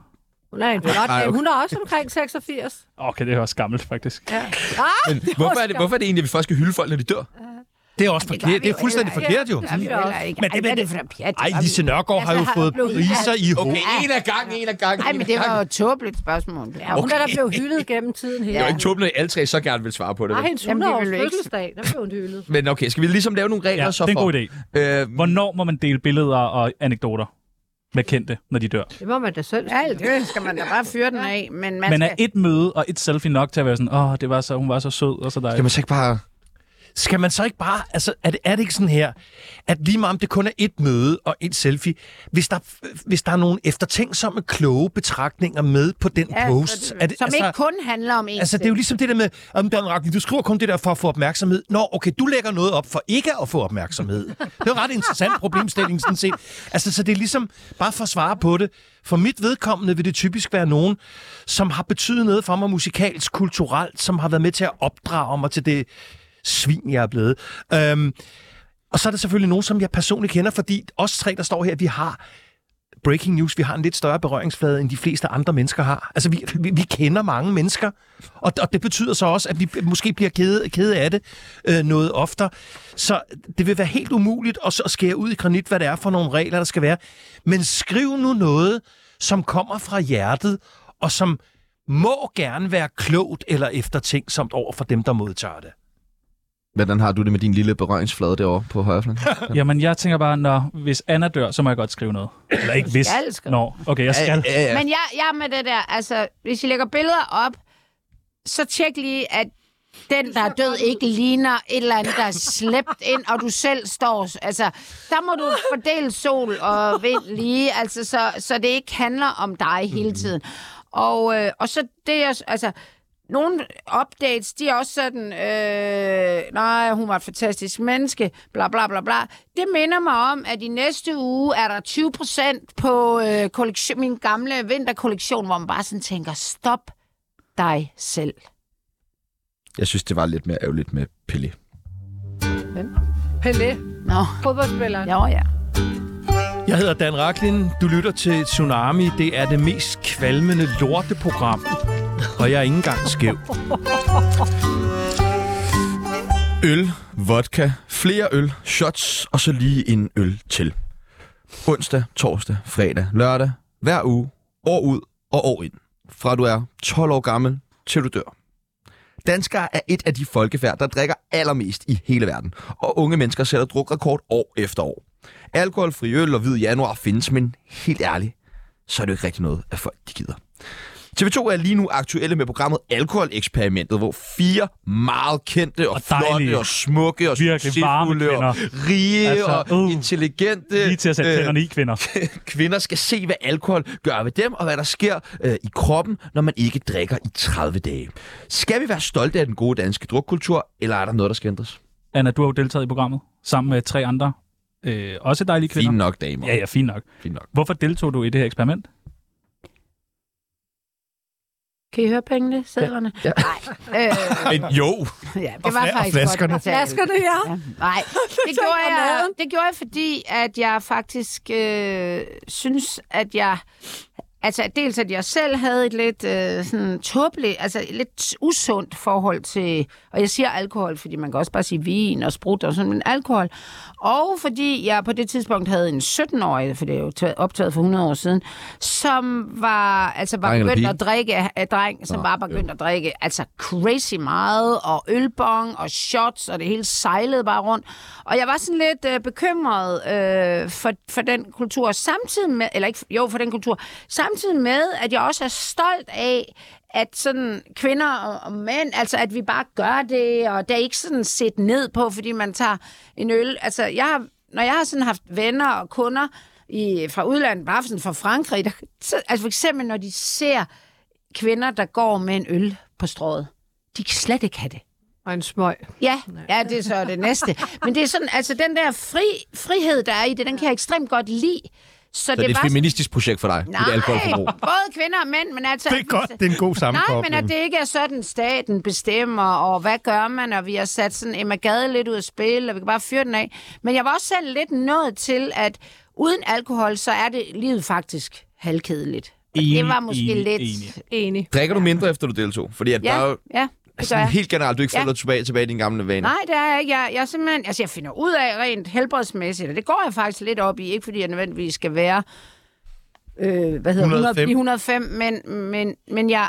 Speaker 3: Hun er en flot
Speaker 2: Nej,
Speaker 3: dame.
Speaker 2: okay.
Speaker 3: Hun er også omkring Ah! 86.
Speaker 1: Okay, det er også gammelt, faktisk. Ja.
Speaker 2: Men hvorfor er det, hvorfor er det egentlig, at vi først skal hylde folk, når de dør?
Speaker 4: Det er også
Speaker 5: gør
Speaker 4: forkert.
Speaker 5: vi
Speaker 4: Det er
Speaker 5: jo
Speaker 4: fuldstændig
Speaker 5: heller
Speaker 4: forkert jo.
Speaker 5: Ja, vi
Speaker 3: også.
Speaker 5: heller ikke.
Speaker 4: Men det-
Speaker 5: Men det, Ej, hvad er det for noget pjat?
Speaker 4: Ej, Lise Nørgaard har jo
Speaker 5: Altså, har
Speaker 4: fået
Speaker 5: blevet-
Speaker 4: priser i hovedet.
Speaker 2: en af gangen, en af gangen.
Speaker 5: Ej,
Speaker 2: en
Speaker 5: men
Speaker 2: ad
Speaker 5: det var jo
Speaker 2: gangen.
Speaker 5: et tåbeligt spørgsmål.
Speaker 3: Ja, hun er der blevet hyldet gennem tiden her.
Speaker 2: Det er jo ikke tåbende, at alle tre så gerne vil svare på det.
Speaker 3: Nej,
Speaker 2: vel?
Speaker 3: hendes
Speaker 5: Jamen, det
Speaker 3: 100 års
Speaker 5: vil vi ikke.
Speaker 3: fødselsdag, der blev hun hyldet.
Speaker 2: Men okay, skal vi ligesom lave nogle regler
Speaker 1: Ja,
Speaker 2: så
Speaker 1: det er en
Speaker 2: for?
Speaker 1: god idé.
Speaker 2: Øh,
Speaker 1: Hvornår må man dele billeder og anekdoter med kendte, når de dør?
Speaker 3: Det må man da selv.
Speaker 5: Ja, det skal man da bare fyre den af. Men man
Speaker 1: Men er
Speaker 5: skal...
Speaker 1: et møde og et selfie nok til at være sådan, åh, det var så, hun var så sød og så
Speaker 2: kan
Speaker 1: dejlig.
Speaker 2: man så ikke bare...
Speaker 4: Skal man så ikke bare... Altså, er det, er det ikke sådan her, at lige meget om det kun er et møde og et selfie, hvis der, hvis der er nogle eftertænksomme, kloge betragtninger med på den
Speaker 5: Ja,
Speaker 4: post...
Speaker 5: så-
Speaker 4: er det,
Speaker 5: Som ikke kun handler om en
Speaker 4: Altså, det er jo ligesom det der med, om Dan Ragnar, du skriver kun det der for at få opmærksomhed. Nå, okay, du lægger noget op for ikke at få opmærksomhed. Det er jo en ret interessant problemstilling, sådan set. Altså, så det er ligesom, bare for at svare på det, for mit vedkommende vil det typisk være nogen, som har betydet noget for mig musikalsk, kulturelt, som har været med til at opdrage mig til det svin, jeg er blevet. Øhm, Og så er der selvfølgelig nogen, som jeg personligt kender, fordi os tre, der står her, vi har breaking news, vi har en lidt større berøringsflade, end de fleste andre mennesker har. Altså, vi, vi, vi kender mange mennesker, og, og det betyder så også, at vi måske bliver kede, kede af det øh, noget oftere. Så det vil være helt umuligt at, så skære ud i granit, hvad det er for nogle regler, der skal være. Men skriv nu noget, som kommer fra hjertet, og som må gerne være klogt eller eftertænksomt over for dem, der modtager det.
Speaker 2: Hvordan har du det med din lille berøringsflade derovre på højre flanke?
Speaker 1: Jamen, jeg tænker bare, når hvis Anna dør, så må jeg godt skrive noget. Eller ikke hvis.
Speaker 5: skal skrive.
Speaker 1: Nå, okay, jeg skal.
Speaker 2: Ja, ja.
Speaker 5: Men jeg, jeg er med det der, altså, hvis I lægger billeder op, så tjek lige, at den, der er død, ikke ligner et eller andet, der er slæbt ind, og du selv står... Altså, der må du fordele sol og vind lige, altså, så, så det ikke handler om dig
Speaker 2: Mm.
Speaker 5: hele tiden. Og, øh, og så det, jeg... Altså, nogle updates, de er også sådan, øh, nej, hun var et fantastisk menneske, bla bla bla bla. Det minder mig om, at i næste uge er der 20% på øh, kollektion, min gamle vinterkollektion, hvor man bare sådan tænker, stop dig selv.
Speaker 2: Jeg synes, det var lidt mere ærgerligt med Pelle.
Speaker 3: Pelé,
Speaker 5: Nå,
Speaker 3: fodboldspilleren.
Speaker 5: jo ja.
Speaker 4: Jeg hedder Dan Raklin. Du lytter til Tsunami. Det er det mest kvalmende lorteprogram. Og jeg er ikke engang skæv.
Speaker 2: Øl, vodka, flere øl, shots og så lige en øl til. Onsdag, torsdag, fredag, lørdag, hver uge, år ud og år ind. Fra du er 12 år gammel til du dør. Danskere er et af de folkefærd, der drikker allermest i hele verden, og unge mennesker sætter drukrekord år efter år. Alkoholfri øl og hvid januar findes, men helt ærligt, så er det jo ikke rigtig noget, at folk de gider. TV2 er lige nu aktuelle med programmet Alkoholeksperimentet, hvor fire meget kendte og, og
Speaker 1: Og dejlige.
Speaker 2: flotte og smukke og
Speaker 1: Virkelig varme
Speaker 2: succesfulde og rige altså,
Speaker 1: Altså,
Speaker 2: og
Speaker 1: uh,
Speaker 2: intelligente
Speaker 1: Lige til at sætte
Speaker 2: øh,
Speaker 1: tænderne i, kvinder.
Speaker 2: kvinder skal se, hvad alkohol gør ved dem, og hvad der sker øh, i kroppen, når man ikke drikker i 30 dage. Skal vi være stolte af den gode danske drukkultur, eller er der noget, der skal ændres?
Speaker 1: Anna, du har jo deltaget i programmet sammen med tre andre, øh, også dejlige kvinder.
Speaker 2: Fint nok, damer.
Speaker 1: Ja, ja, fint nok.
Speaker 2: Fint nok.
Speaker 1: Hvorfor deltog du i det her eksperiment?
Speaker 5: Kan I høre pengene, sædlerne? Ja. Nej. Øh,
Speaker 2: Men jo,
Speaker 5: ja, det var faktisk
Speaker 4: flaskerne.
Speaker 5: godt. betalt.
Speaker 3: Flaskerne, ja.
Speaker 5: Ja, nej, det
Speaker 3: tænker
Speaker 5: gjorde, jeg,
Speaker 3: maden.
Speaker 5: det gjorde jeg, fordi at jeg faktisk øh, synes, at jeg... Altså at dels, at jeg selv havde et lidt øh, sådan tåbeligt, altså et lidt usundt forhold til... Og jeg siger alkohol, fordi man kan også bare sige vin og sprut og sådan, men alkohol. Og fordi jeg på det tidspunkt havde en 17-årig, for det er jo taget- optaget for 100 år siden, som var, altså var
Speaker 2: Dreng eller
Speaker 5: begyndt
Speaker 2: pige?
Speaker 5: at drikke af dreng, som bare begyndte at drikke altså crazy meget, og ølbong og shots, og det hele sejlede bare rundt. Og jeg var sådan lidt øh, bekymret øh, for, for den kultur, samtidig med, eller ikke, jo, for den kultur, samtidig med, at jeg også er stolt af, at sådan kvinder og, og mænd, altså at vi bare gør det, og det er ikke sådan set ned på, fordi man tager en øl. Altså, jeg har, når jeg har sådan haft venner og kunder i, fra udlandet, bare sådan fra Frankrig, der, så, altså for eksempel, når de ser kvinder, der går med en øl på strået. De kan slet ikke have det.
Speaker 3: Og en smøg.
Speaker 5: Ja, ja, det er så det næste. Men det er sådan, altså den der fri, frihed, der er i det, den kan jeg ekstremt godt lide. Så,
Speaker 2: så det er et
Speaker 5: bare...
Speaker 2: feministisk projekt for dig, dit
Speaker 5: Nej,
Speaker 2: alkoholforbrug.
Speaker 5: både kvinder og mænd, men altså...
Speaker 4: Det er godt, det er en god
Speaker 5: Nej,
Speaker 4: sammenkobling.
Speaker 5: men at det ikke er sådan, staten bestemmer, og hvad gør man, og vi har sat sådan Emma Gade lidt ud af spil, og vi kan bare fyre den af. Men jeg var også selv lidt nået til, at uden alkohol, så er det livet faktisk halvkedeligt. Og det
Speaker 1: Enig,
Speaker 5: var måske
Speaker 1: enig,
Speaker 5: lidt...
Speaker 1: enig.
Speaker 3: Enig.
Speaker 2: Drikker du mindre, efter du deltog? Fordi at ja. der er
Speaker 5: Ja,
Speaker 2: jo
Speaker 5: ja, det
Speaker 2: altså,
Speaker 5: gør jeg.
Speaker 2: helt generelt, du ikke
Speaker 5: Ja.
Speaker 2: føler dig tilbage, tilbage i din gamle vane.
Speaker 5: Nej, det er jeg ikke. Jeg, jeg, er simpelthen, altså, jeg finder ud af rent helbredsmæssigt, og det går jeg faktisk lidt op i. Ikke fordi jeg nødvendigvis skal være øh, hvad hedder,
Speaker 4: 105.
Speaker 5: 105. 105, men, men, men jeg,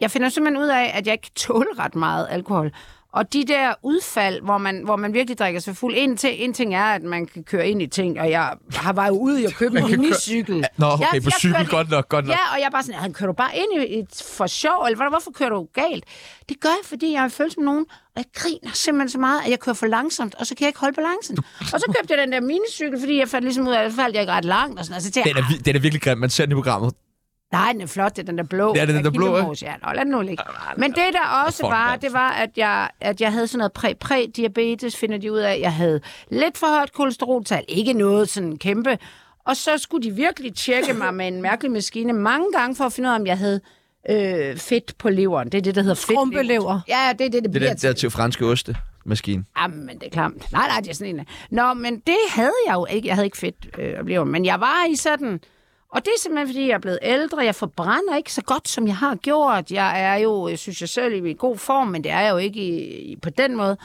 Speaker 5: jeg finder simpelthen ud af, at jeg ikke kan tåle ret meget alkohol. Og de der udfald, hvor man, hvor man virkelig drikker sig fuld, en, ting, en ting er, at man kan køre ind i ting, og jeg har var jo ude i at købe en minicykel.
Speaker 2: Nå, okay, på cykel,
Speaker 5: kørte-
Speaker 2: godt nok, godt nok.
Speaker 5: Ja, og jeg er bare sådan, han kører du bare ind i et for sjov, eller hvad- hvorfor kører du galt? Det gør jeg, fordi jeg føler som nogen, og jeg griner simpelthen så meget, at jeg kører for langsomt, og så kan jeg ikke holde balancen. Og så købte jeg den der minicykel, fordi jeg fandt ligesom ud af, at faldt jeg ikke ret langt, og sådan noget. Så tænkte
Speaker 2: Den
Speaker 5: jeg,
Speaker 2: er, vi- den er virkelig grim. Man ser den i programmet.
Speaker 5: Nej, den er flot, det er den der blå.
Speaker 2: Ja, det er den
Speaker 5: Af
Speaker 2: der blå, ikke?
Speaker 5: Gildemose, Ja, nå, lad den nu ligge. Men det, der også
Speaker 2: Fuck,
Speaker 5: var,
Speaker 2: mand.
Speaker 5: det var, at jeg, at jeg havde sådan noget præ præ diabetes finder de ud af. Jeg havde lidt for højt kolesteroltal, ikke noget sådan kæmpe. Og så skulle de virkelig tjekke mig med en mærkelig maskine mange gange for at finde ud af, om jeg havde øh, fedt på leveren. Det er det, der hedder fedt.
Speaker 3: Krumpelever.
Speaker 5: Ja, det er det, det, det
Speaker 2: Det er
Speaker 5: bliver
Speaker 2: den der
Speaker 5: til.
Speaker 2: til franske oste. maskine.
Speaker 5: Jamen, Ah, det er klamt. Nej, nej, det er sådan en. øh. Nå, men det havde jeg jo ikke. Jeg havde ikke fedt øh, at blive, men jeg var i sådan... Og det er simpelthen, fordi jeg er blevet ældre. Jeg forbrænder ikke så godt, som jeg har gjort. Jeg er jo, jeg synes jeg selv, i god form, men det er jeg jo ikke i, i, på den måde.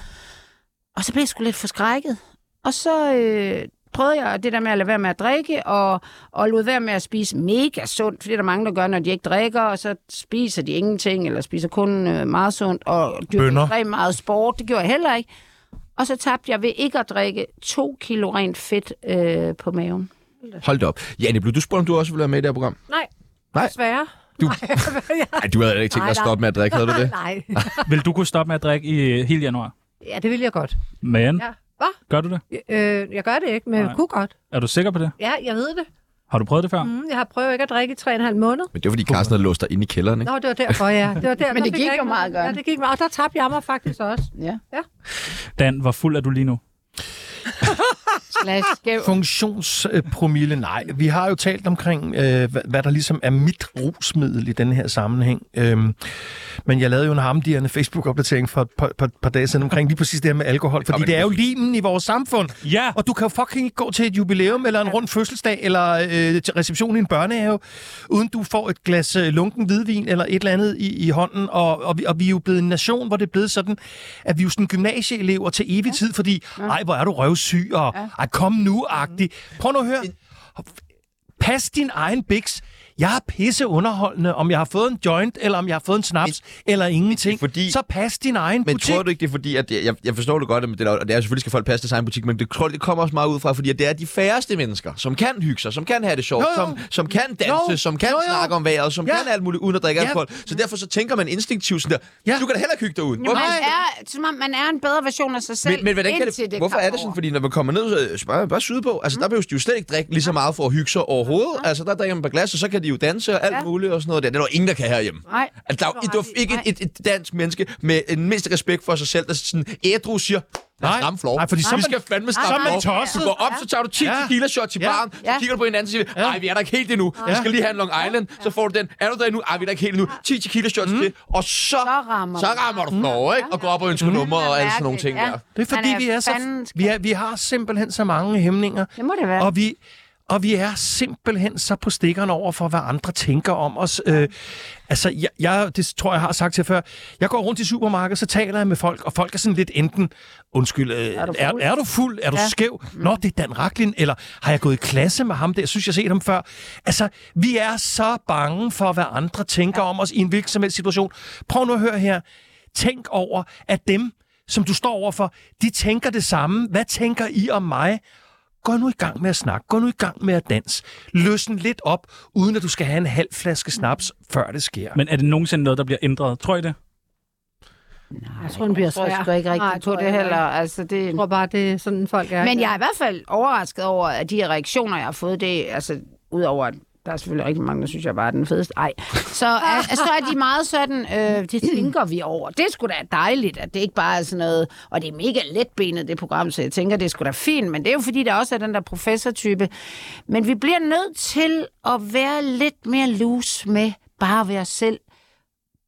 Speaker 5: Og så blev jeg sgu lidt forskrækket. Og så øh, prøvede jeg det der med at lade være med at drikke, og, og lod være med at spise mega sundt, for det er der mange, der gør, når de ikke drikker, og så spiser de ingenting, eller spiser kun øh, meget sundt, og dyrker
Speaker 4: Bønner.
Speaker 5: ekstremt meget sport. Det gjorde jeg heller ikke. Og så tabte jeg ved ikke at drikke to kilo rent fedt øh, på maven.
Speaker 2: Hold da op. Janne, blev du spurgt, om du også ville være med i det her program?
Speaker 3: Nej.
Speaker 2: Nej.
Speaker 3: Desværre.
Speaker 2: Du-
Speaker 3: Nej,
Speaker 2: Nej, du havde heller ikke tænkt dig at
Speaker 3: Nej, nej.
Speaker 2: stoppe med at drikke, havde du det?
Speaker 3: Nej.
Speaker 1: Vil du kunne stoppe med at drikke i øh, hele januar?
Speaker 3: Ja, det vil jeg godt.
Speaker 1: Men,
Speaker 3: Ja. Hvad?
Speaker 1: gør du det?
Speaker 3: Øh, jeg gør det ikke, men
Speaker 1: Nej.
Speaker 3: jeg kunne godt.
Speaker 1: Er du sikker på det?
Speaker 3: Ja, jeg ved det.
Speaker 1: Har du prøvet det før?
Speaker 3: Mm, jeg har prøvet ikke at drikke i tre og en halv måned.
Speaker 2: Men det var, fordi Carsten havde låst dig inde i kælderen, ikke?
Speaker 3: Nå, det var derfor, ja. Det var der,
Speaker 5: Men
Speaker 3: der
Speaker 5: det
Speaker 3: fik
Speaker 5: gik
Speaker 3: jeg
Speaker 5: jo
Speaker 3: ikke-
Speaker 5: meget godt.
Speaker 3: Ja, det gik meget. Og der tabte jeg mig faktisk også.
Speaker 5: Ja.
Speaker 1: Dan, hvor fuld er du lige nu?
Speaker 5: Slash skæv.
Speaker 4: Funktionspromille, nej. Vi har jo talt omkring, øh, hvad, hvad der ligesom er mit rusmiddel i den her sammenhæng. Øhm, men jeg lavede jo en hamdierende Facebook-opdatering for et par, par, par dage siden omkring lige præcis det her med alkohol, fordi det er jo limen i vores samfund.
Speaker 1: Ja!
Speaker 4: Og du kan jo fucking ikke gå til et jubilæum, eller en rund fødselsdag, eller øh, til reception i en børnehave, uden du får et glas øh, lunken hvidvin, eller et eller andet i, i hånden. Og, og, vi, og vi er jo blevet en nation, hvor det er blevet sådan, at vi er jo sådan gymnasieelever til evig tid, fordi, ej, hvor er du røvsyg, og ej, kom nu-agtig. Prøv nu at høre. Pas din egen biks. Jeg er pisse underholdende, om jeg har fået en joint, eller om jeg har fået en snaps, eller ingenting.
Speaker 2: fordi-
Speaker 4: Så pas din egen
Speaker 2: Men
Speaker 4: butik.
Speaker 2: tror du ikke, det er fordi, at det, jeg, jeg forstår det godt, at det, er- og det er selvfølgelig, skal folk passe deres egen butik, men det, tror, det kommer også meget ud fra, fordi at det er de færreste mennesker, som kan hygge sig, som kan have det sjovt,
Speaker 4: Jo, jo.
Speaker 2: Som, som kan danse,
Speaker 4: Jo,
Speaker 2: som kan
Speaker 4: jo, jo.
Speaker 2: snakke om vejret, som
Speaker 4: Ja.
Speaker 2: kan alt muligt, uden at drikke
Speaker 4: Ja.
Speaker 2: alkohol. Så derfor så tænker man instinktivt sådan der,
Speaker 4: Ja.
Speaker 2: du kan da heller ikke hygge dig ud.
Speaker 5: Man er, som om man er en bedre version af sig selv,
Speaker 2: Men, men hvordan kan
Speaker 5: indtil
Speaker 2: det,
Speaker 5: det,
Speaker 2: det hvorfor
Speaker 5: kommer Mm-hmm.
Speaker 2: er det sådan?
Speaker 5: over.
Speaker 2: Fordi når man kommer ned, øh, så bare, bare sydpå, altså der behøver de jo slet ikke drikke lige så meget for at hygge sig overhovedet. Altså der drikker man på glas, og så kan de jo danse og alt
Speaker 5: Ja.
Speaker 2: muligt og sådan noget der. Det er der jo ingen, der kan herhjemme.
Speaker 5: Nej.
Speaker 2: Altså, der er jo
Speaker 5: Du har
Speaker 2: et,
Speaker 5: ret i-
Speaker 2: ikke
Speaker 5: nej.
Speaker 2: et, et, et dansk menneske med en mindst respekt for sig selv, der sådan ædru siger, lad os
Speaker 4: Nej.
Speaker 2: ramme floor.
Speaker 4: Nej, fordi så
Speaker 2: vi
Speaker 4: er
Speaker 2: skal
Speaker 4: man-
Speaker 2: fandme
Speaker 4: så er
Speaker 2: stramme
Speaker 4: man
Speaker 2: floor.
Speaker 4: tosset.
Speaker 2: Du går op, så tager du 10
Speaker 4: Ja.
Speaker 2: tequila shots i
Speaker 4: Ja.
Speaker 2: baren, så
Speaker 5: Ja.
Speaker 2: kigger du på hinanden og siger, nej, vi er der ikke helt endnu. Vi
Speaker 4: Ja.
Speaker 2: skal lige have en Long Island. Så får du den. Er du der endnu? Ej, vi er der ikke helt endnu. 10 tequila shots
Speaker 4: Mm.
Speaker 2: til, og så,
Speaker 5: rammer
Speaker 2: så
Speaker 5: du.
Speaker 2: rammer du floor, ikke? Og går op og ønsker numre og alle sådan nogle ting der.
Speaker 4: Det er fordi, er vi, er så, vi, er, vi har simpelthen så mange hæmninger.
Speaker 5: Det må det være.
Speaker 4: Og vi, og vi er simpelthen så på stikkerne over for, hvad andre tænker om os. Øh, altså, jeg, jeg, det tror jeg har sagt til jer før. Jeg går rundt i supermarkedet, så taler jeg med folk, og folk er sådan lidt enten, undskyld, øh, er,
Speaker 5: du
Speaker 4: du
Speaker 5: fuld?
Speaker 4: er, er du fuld? Er du ja. skæv? Nå, det er Dan Raklin. Eller har jeg gået i klasse med ham? Det jeg synes, jeg har set ham før. Altså, vi er så bange for, hvad andre tænker ja. om os i en hvilken som helst situation. Prøv nu at høre her. Tænk over, at dem, som du står overfor, de tænker det samme. Hvad tænker I om mig? Gå nu i gang med at snakke. Gå nu i gang med at danse. Løsne lidt op, uden at du skal have en halv flaske snaps, før det sker.
Speaker 1: Men er det nogensinde noget, der bliver ændret? Tror I det?
Speaker 3: Jeg tror, den bliver svær.
Speaker 5: Jeg tror sgu ikke
Speaker 3: Nej,
Speaker 5: rigtigt på
Speaker 3: tror
Speaker 5: det
Speaker 3: jeg
Speaker 5: heller.
Speaker 3: heller
Speaker 5: Altså, det...
Speaker 3: Jeg tror bare, det er sådan, folk er.
Speaker 5: Men jeg er i hvert fald overrasket over, at de reaktioner, jeg har fået, det er, altså, udover at der er selvfølgelig rigtig mange, der synes, jeg bare er den fedeste. Ej. Så, er, så er de meget sådan, øh, det tænker vi over. Det er sgu da dejligt, at det ikke bare er sådan noget, og det er mega letbenet, det program, så jeg tænker, det er sgu da fint, men det er jo fordi, der også er den der professortype. Men vi bliver nødt til at være lidt mere loose med bare at være os selv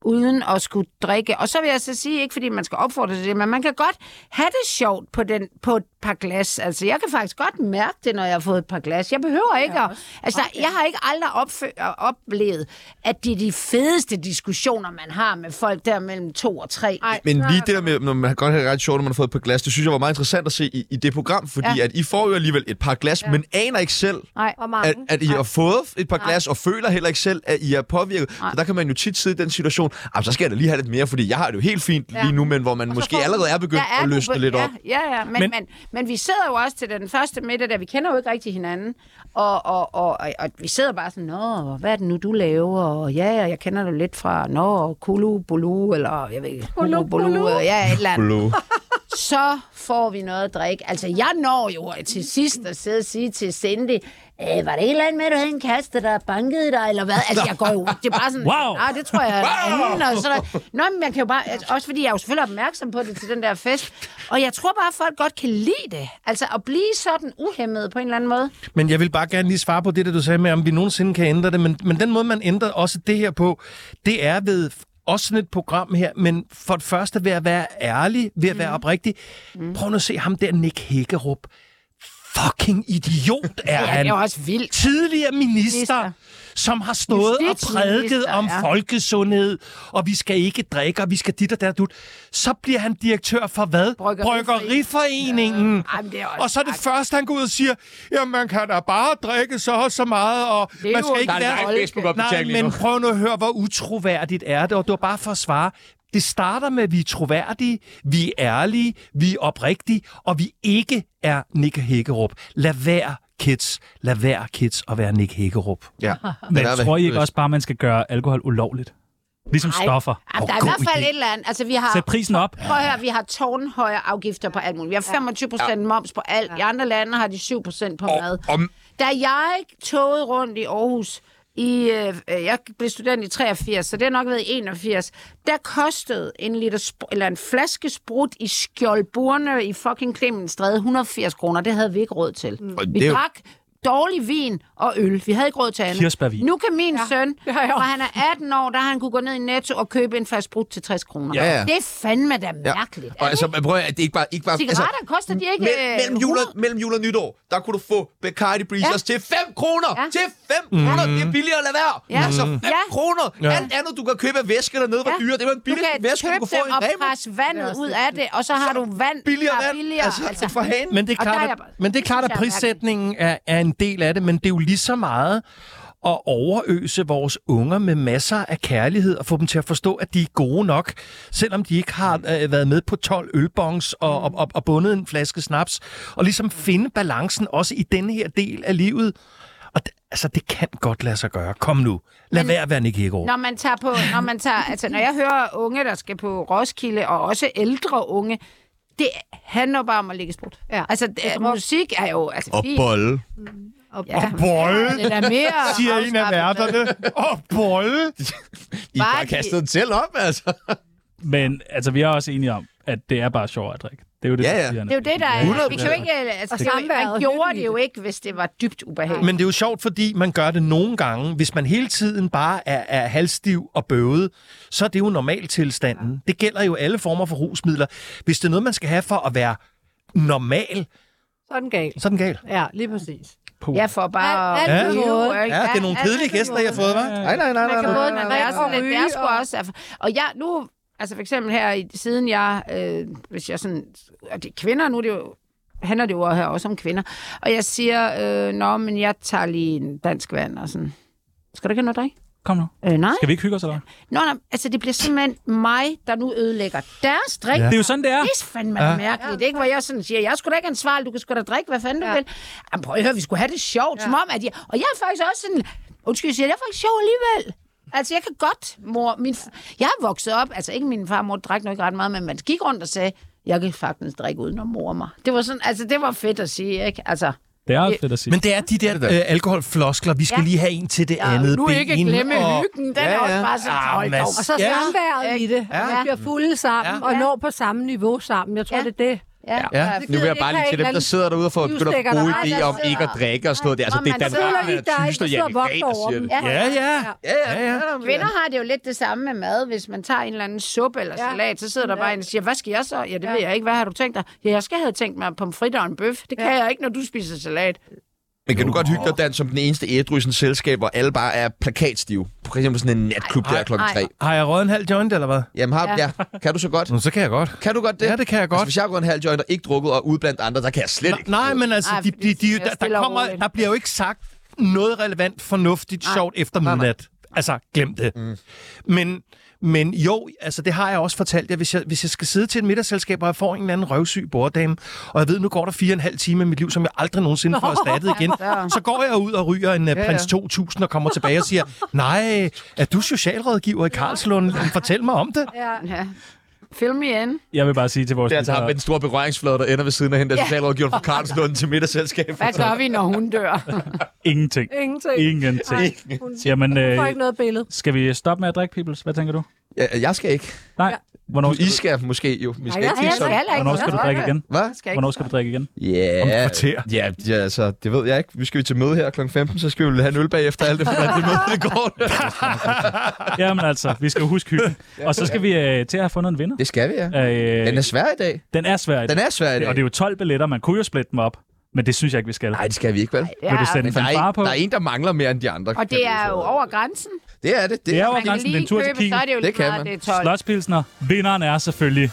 Speaker 5: uden at skulle drikke. Og så vil jeg så sige, ikke fordi man skal opfordre til det, men man kan godt have det sjovt på, den, på et par glas. Altså, jeg kan faktisk godt mærke det, når jeg har fået et par glas. Jeg behøver ikke at... Altså, okay. jeg har ikke aldrig opfø- øh, oplevet, at det er de fedeste diskussioner, man har med folk der mellem to og tre.
Speaker 3: Ej,
Speaker 2: Men
Speaker 3: nej,
Speaker 2: lige det der med, når man godt have det ret sjovt, når man har fået et par glas, det synes jeg var meget interessant at se i, i det program, fordi ja.
Speaker 5: Ja.
Speaker 2: at I får jo alligevel et par glas, ja. men aner ikke selv,
Speaker 5: Nej.
Speaker 3: Og
Speaker 2: at,
Speaker 3: mange.
Speaker 2: at I har fået et par glas, og føler heller ikke selv, at I er påvirket. Så der kan man jo tit sidde i den situation, "Ah, så skal jeg da lige have lidt mere, fordi jeg har det jo helt fint lige nu, men hvor man måske
Speaker 5: får-
Speaker 2: allerede er begyndt
Speaker 5: Der er
Speaker 2: at
Speaker 5: du
Speaker 2: løsne
Speaker 5: be-
Speaker 2: lidt
Speaker 5: ja,
Speaker 2: op.
Speaker 5: Ja, ja, men,
Speaker 1: Men-
Speaker 5: men, men, men vi sidder jo også til den første middag, der vi kender jo ikke rigtig hinanden, og, og, og, og, og vi sidder bare sådan, nå, hvad er det nu, du laver, og ja, og jeg kender dig lidt fra, nå, Kulu, Bulu, eller jeg ved ikke, Kulu, Bulu, øh, ja, et eller andet
Speaker 2: Blå.
Speaker 5: så får vi noget at drikke. Altså, jeg når jo til sidst at sidde og sige til Cindy, "Øh, var det et eller andet med, at du havde en kæreste, der bankede dig, eller hvad? Altså, jeg går jo... Det er bare sådan...
Speaker 1: Wow.
Speaker 5: "Nej, det tror jeg er wow. anden, og sådan noget." Nå, men jeg kan jo bare... Altså, også fordi jeg er jo selvfølgelig opmærksom på det til den der fest. Og jeg tror bare, at folk godt kan lide det. Altså, at blive sådan uhemmet på en eller anden måde.
Speaker 4: Men jeg vil bare gerne lige svare på det, der du sagde med, om vi nogensinde kan ændre det. Men, men den måde, man ændrer også det her på, det er ved også sådan et program her, men for det første ved at være ærlig, ved at være oprigtig. Prøv nu at se ham der, Nick Hækkerup. Fucking idiot er
Speaker 5: Ja,
Speaker 4: han.
Speaker 5: det er også vildt.
Speaker 4: Tidligere minister,
Speaker 5: Minister.
Speaker 4: som har stået og prædiket
Speaker 5: Justitsminister,
Speaker 4: om
Speaker 5: ja.
Speaker 4: folkesundhed, og vi skal ikke drikke, og vi skal dit og der dut. Så bliver han direktør for hvad?
Speaker 5: Bryggeriforeningen.
Speaker 4: Bryggeriforeningen.
Speaker 5: Ej, men det er også
Speaker 4: Og så er det første, han går ud og siger, jamen man kan da bare drikke så og så meget, og
Speaker 5: Det er
Speaker 4: man
Speaker 5: jo-
Speaker 4: skal ikke
Speaker 5: Der er
Speaker 4: være...
Speaker 5: live
Speaker 4: Nej,
Speaker 8: Facebook-opdatering lige nu.
Speaker 4: men prøv nu at høre, hvor utroværdigt er det, og det var bare for at svare. Det starter med, at vi er troværdige, vi er ærlige, vi er oprigtige, og vi ikke er Nick Hækkerup. Lad være, kids. Lad være, kids, at være Nick Hækkerup.
Speaker 2: Ja.
Speaker 1: Men
Speaker 2: er
Speaker 1: tror I
Speaker 2: det.
Speaker 1: ikke også bare, at man skal gøre alkohol ulovligt? Ligesom
Speaker 5: Ej.
Speaker 1: stoffer.
Speaker 5: Jamen, der er i
Speaker 4: god
Speaker 5: hvert fald
Speaker 4: idé.
Speaker 5: et eller andet. Altså, vi har...
Speaker 1: Sæt prisen op.
Speaker 5: Prøv at høre, vi har tårnhøje afgifter på alt muligt. Vi har 25 procent moms på alt. I andre lande har de 7 procent på mad.
Speaker 2: om-
Speaker 5: Da jeg togede rundt i Aarhus, i, øh, øh, jeg blev student i 83, så det har nok været i 81, der kostede en, liter sp- eller en flaske sprut i skjoldburne i fucking Clemensstræde 180 kroner. Det havde vi ikke råd til.
Speaker 2: Mm. Og
Speaker 5: Vi
Speaker 2: det er jo-
Speaker 5: drak dårlig vin og øl. Vi havde ikke råd til andet.
Speaker 1: Kirsebærvin.
Speaker 5: Nu kan min ja. søn,
Speaker 3: det har jeg
Speaker 5: når
Speaker 3: også.
Speaker 5: han er 18 år, der har han kunne gå ned i Netto og købe en flaske sprut til 60 kroner.
Speaker 2: Ja, ja.
Speaker 5: Det er fandme da mærkeligt.
Speaker 2: Og
Speaker 5: Ja.
Speaker 2: altså, man prøver, at det ikke bare... Ikke bare
Speaker 5: Cigaretter koster de ikke,
Speaker 2: Mellem,
Speaker 5: øh,
Speaker 2: mellem, jul og,
Speaker 5: 100?
Speaker 2: mellem jul og nytår, der kunne du få Bacardi Breezers ja. til 5 kroner! Ja.
Speaker 5: Ja.
Speaker 2: Til 5 kroner! Det er billigere at lade være!
Speaker 5: Ja.
Speaker 2: Altså, 5
Speaker 5: Ja.
Speaker 2: kroner! Mhm. Ja. Alt andet, du kan købe af væsker dernede, var ja. dyre. Det var en
Speaker 5: du
Speaker 2: billig
Speaker 5: kan
Speaker 2: væske, du
Speaker 5: købe
Speaker 2: kunne få i
Speaker 5: dem og
Speaker 2: Rema.
Speaker 5: presse vandet ud af det, og så har du vand,
Speaker 2: Billigere
Speaker 5: der er
Speaker 2: vand!
Speaker 5: billigere.
Speaker 2: Altså, altså, for hanen!
Speaker 4: Men det er
Speaker 5: Og der
Speaker 4: klart,
Speaker 5: er
Speaker 4: at,
Speaker 5: jeg bare-
Speaker 4: men det er
Speaker 5: det
Speaker 4: klart, at
Speaker 5: synes jeg er
Speaker 4: prissætningen er, er en del af det, men det er jo lige så meget at overøse vores unger med masser af kærlighed og få dem til at forstå, at de er gode nok, selvom de ikke har øh, været med på 12 ølbongs og, og, og, og bundet en flaske snaps, og ligesom finde balancen også i denne her del af livet. Og det, altså, det kan godt lade sig gøre. Kom nu. Lad være at være Nick Hækkerup.
Speaker 5: Når man tager på, når man tager, altså når jeg hører unge, der skal på Roskilde, og også ældre unge, det handler bare om at ligge i sprut.
Speaker 3: Ja.
Speaker 5: Altså, det, er, musik er jo... Altså,
Speaker 2: Og
Speaker 5: fint.
Speaker 2: bolle.
Speaker 5: Ja,
Speaker 4: Bolle,
Speaker 5: det er da mere... afskaffende.
Speaker 4: Og bolle.
Speaker 2: I bare
Speaker 5: Bare de-
Speaker 2: kastede den selv op, altså.
Speaker 1: Men altså, vi er også enige om, at det er bare sjovt at drikke. Det er jo det,
Speaker 2: Ja,
Speaker 1: der
Speaker 2: ja.
Speaker 1: siger han.
Speaker 5: Det er jo det, der er. Vi kan jo ikke... Altså, det er jo,
Speaker 3: samværet
Speaker 5: man
Speaker 3: og
Speaker 5: gjorde
Speaker 3: hyggen i
Speaker 5: det jo ikke, hvis det var dybt ubehageligt.
Speaker 4: Men det er jo sjovt, fordi man gør det nogle gange. Hvis man hele tiden bare er, er halvstiv og bøvet, så er det jo normaltilstanden. Det gælder jo alle former for rusmidler. Hvis det er noget, man skal have for at være normal,
Speaker 3: Sådan galt.
Speaker 4: så er den gal.
Speaker 3: Ja, lige præcis.
Speaker 5: Ja, for bare...
Speaker 3: Alt- alt på
Speaker 5: Jo,
Speaker 3: måde.
Speaker 5: ikke?
Speaker 4: Ja, det er nogle
Speaker 5: Alt-
Speaker 4: kedelige gæster, jeg har fået, hva'?
Speaker 2: Nej, nej, nej, nej.
Speaker 5: Man kan
Speaker 2: nej.
Speaker 5: både man være
Speaker 3: og
Speaker 5: sådan lidt,
Speaker 3: ryge
Speaker 5: det er sgu
Speaker 3: og-
Speaker 5: også... erf- Og jeg, nu, altså for eksempel her, i- siden jeg, øh, hvis jeg sådan, og det er kvinder, nu er det jo, handler det jo her også om kvinder, og jeg siger, øh, nå, men jeg tager lige en dansk vand, og sådan, skal du ikke have noget drik?
Speaker 1: Kom nu.
Speaker 5: Øh, nej.
Speaker 1: Skal vi ikke hygge os, eller?
Speaker 5: Nå, nej, altså det bliver simpelthen mig, der nu ødelægger deres drik.
Speaker 1: Det er jo sådan, det er.
Speaker 5: Det er fandme ja. mærkeligt, ikke? Hvor jeg sådan siger, jeg skulle da ikke ansvarlig, du kan sgu da drikke, hvad fanden ja. du vil. Jamen prøv at høre, vi skulle have det sjovt, ja. som om at jeg... Og jeg er faktisk også sådan... Undskyld, jeg siger, jeg er faktisk sjov alligevel. Altså, jeg kan godt, mor... Min, f- jeg er vokset op, altså ikke min far og mor drak nok ikke ret meget, men man gik rundt og sagde, jeg kan faktisk drikke uden at mor mig. Det var sådan, altså det var fedt at sige, ikke? Altså,
Speaker 1: Det er fedt at sige.
Speaker 4: Men det er de der øh, alkoholfloskler. Vi skal ja.
Speaker 5: Ja.
Speaker 4: lige have en til det andet.
Speaker 5: nu
Speaker 4: ben
Speaker 5: ikke
Speaker 4: ind,
Speaker 5: glemme
Speaker 4: og-
Speaker 5: hyggen, den ja, ja. er også bare sådan,
Speaker 4: Ah,
Speaker 5: hold da op.
Speaker 4: Mads.
Speaker 3: Og så
Speaker 4: Ja.
Speaker 3: samværet i det. Ja. Man bliver fulde sammen ja. og når på samme niveau sammen. Jeg tror,
Speaker 5: Ja.
Speaker 3: ja. det er det.
Speaker 5: Ja,
Speaker 4: Ja.
Speaker 3: Det
Speaker 8: Nu vil
Speaker 3: gider
Speaker 8: jeg bare
Speaker 3: ikke
Speaker 8: lige
Speaker 3: have
Speaker 8: til
Speaker 3: en
Speaker 8: dem, der
Speaker 3: anden
Speaker 8: sidder derude for at begynde at
Speaker 3: knivstikker,
Speaker 8: bruge
Speaker 5: der-
Speaker 8: idéer
Speaker 5: Ej,
Speaker 8: om
Speaker 5: der
Speaker 8: ikke at
Speaker 5: sidder-
Speaker 8: drikke og sådan noget. Det er altså,
Speaker 5: Nå,
Speaker 8: det er
Speaker 5: man
Speaker 8: Dan
Speaker 5: sidder
Speaker 8: Rachlin,
Speaker 3: i, der er
Speaker 8: der
Speaker 3: ikke
Speaker 8: tyster
Speaker 3: sidder og
Speaker 8: Jannik Ræn, der
Speaker 3: vogter over
Speaker 8: siger det.
Speaker 5: ja.
Speaker 4: Ja, ja.
Speaker 2: Ja, ja, ja.
Speaker 5: Kvinder har det jo lidt det samme med mad. Hvis man tager en eller anden suppe eller
Speaker 3: Ja.
Speaker 5: salat, så sidder der bare en og siger, hvad skal jeg så? Ja, det
Speaker 3: Ja.
Speaker 5: ved jeg ikke. Hvad har du tænkt dig? Ja, jeg skal have tænkt mig pomfritter og en bøf. Det kan
Speaker 3: Ja.
Speaker 5: jeg ikke, når du spiser salat.
Speaker 2: Men kan du godt hygge dig, Dan, som den eneste ædru i sådan et selskab, hvor alle bare er plakatstive? På for eksempel sådan en natklub der klokken
Speaker 5: ej.
Speaker 2: 3.
Speaker 4: Har jeg røget en halv joint, eller hvad?
Speaker 2: Jamen, har, ja. kan du så godt?
Speaker 4: Nå, så kan jeg godt.
Speaker 2: Kan du godt det?
Speaker 4: Ja, det kan jeg godt.
Speaker 2: Altså, hvis jeg går en halv joint og ikke drukket og ude blandt andre, der kan jeg slet ikke.
Speaker 4: Nej, men altså,
Speaker 5: Ej,
Speaker 4: de, de,
Speaker 5: fordi
Speaker 4: de,
Speaker 5: jeg
Speaker 4: der,
Speaker 5: stille
Speaker 4: der,
Speaker 5: og
Speaker 4: kommer,
Speaker 5: roligt.
Speaker 4: der bliver jo ikke sagt noget relevant, fornuftigt, Ej. sjovt efter midnat. Altså, glem det. Mm. Men, men jo, altså, det har jeg også fortalt jer. Hvis jeg, hvis jeg skal sidde til et middagsselskab, og jeg får en eller anden røvsyg borddame, og jeg ved, nu går der fire og en halv time af mit liv, som jeg aldrig nogensinde får erstattet igen, så går jeg ud og ryger en ja, prins 2000 og kommer tilbage og siger, nej, er du socialrådgiver i Karlslund? Fortæl mig om det.
Speaker 5: Ja. Film igen.
Speaker 1: Jeg vil bare sige til vores...
Speaker 8: Det er altså ham
Speaker 1: lyttere-
Speaker 8: med den store berøringsflade, der ender ved siden af hende, der er socialrådgiveren fra Karlslund til middagsselskab.
Speaker 5: Hvad gør vi, når hun dør?
Speaker 1: Ingenting.
Speaker 5: Øh.
Speaker 3: Ingenting.
Speaker 1: Ingenting.
Speaker 3: Hun
Speaker 1: Jamen,
Speaker 3: får
Speaker 1: øh,
Speaker 3: ikke noget billede.
Speaker 1: skal vi stoppe med at drikke, peoples? Hvad tænker du?
Speaker 2: Jeg, jeg skal ikke.
Speaker 1: Nej, hvornår
Speaker 2: Du,
Speaker 1: skal,
Speaker 2: I
Speaker 1: du,
Speaker 2: skal måske jo. Vi skal
Speaker 3: jeg
Speaker 2: ikke sige
Speaker 3: skal
Speaker 5: jeg
Speaker 3: ikke
Speaker 5: skal
Speaker 2: sådan.
Speaker 5: heller ikke.
Speaker 1: hvornår skal du drikke igen?
Speaker 2: Hvad?
Speaker 5: Skal
Speaker 1: Hvornår skal du drikke igen?
Speaker 2: Ja.
Speaker 4: Om et kvarter.
Speaker 2: Ja, ja, altså, det ved jeg ikke. Vi skal vi til møde her kl. 15, så skal vi vel have en øl bagefter alt det forbandet møde, det går.
Speaker 1: Jamen altså, vi skal jo huske hyggen. Og så skal vi øh, til at have fundet en vinder.
Speaker 2: det skal vi, ja.
Speaker 1: Øh,
Speaker 2: Den er svær i dag.
Speaker 1: den er svær. i
Speaker 2: Den
Speaker 1: dag.
Speaker 2: er svær i dag.
Speaker 1: Og det er jo 12 billetter, man kunne jo splitte dem op. Men det synes jeg ikke, vi skal.
Speaker 2: Nej, det skal vi ikke, vel?
Speaker 1: Vil du sætte
Speaker 2: Men
Speaker 1: en
Speaker 2: der er,
Speaker 1: fanfare
Speaker 2: en,
Speaker 1: på?
Speaker 2: der er en, der mangler mere end de andre.
Speaker 5: Og det er jo over grænsen.
Speaker 2: Det er det. Det,
Speaker 1: Det er
Speaker 2: er...
Speaker 1: over
Speaker 5: Man kan
Speaker 1: grænsen, det er
Speaker 5: lige
Speaker 1: en tur til
Speaker 5: købe,
Speaker 1: Kiel.
Speaker 5: så er det jo
Speaker 2: Det
Speaker 5: lige
Speaker 2: kan
Speaker 5: meget,
Speaker 2: man.
Speaker 5: det er 12.
Speaker 1: Slotspilsner. Vinderen er selvfølgelig...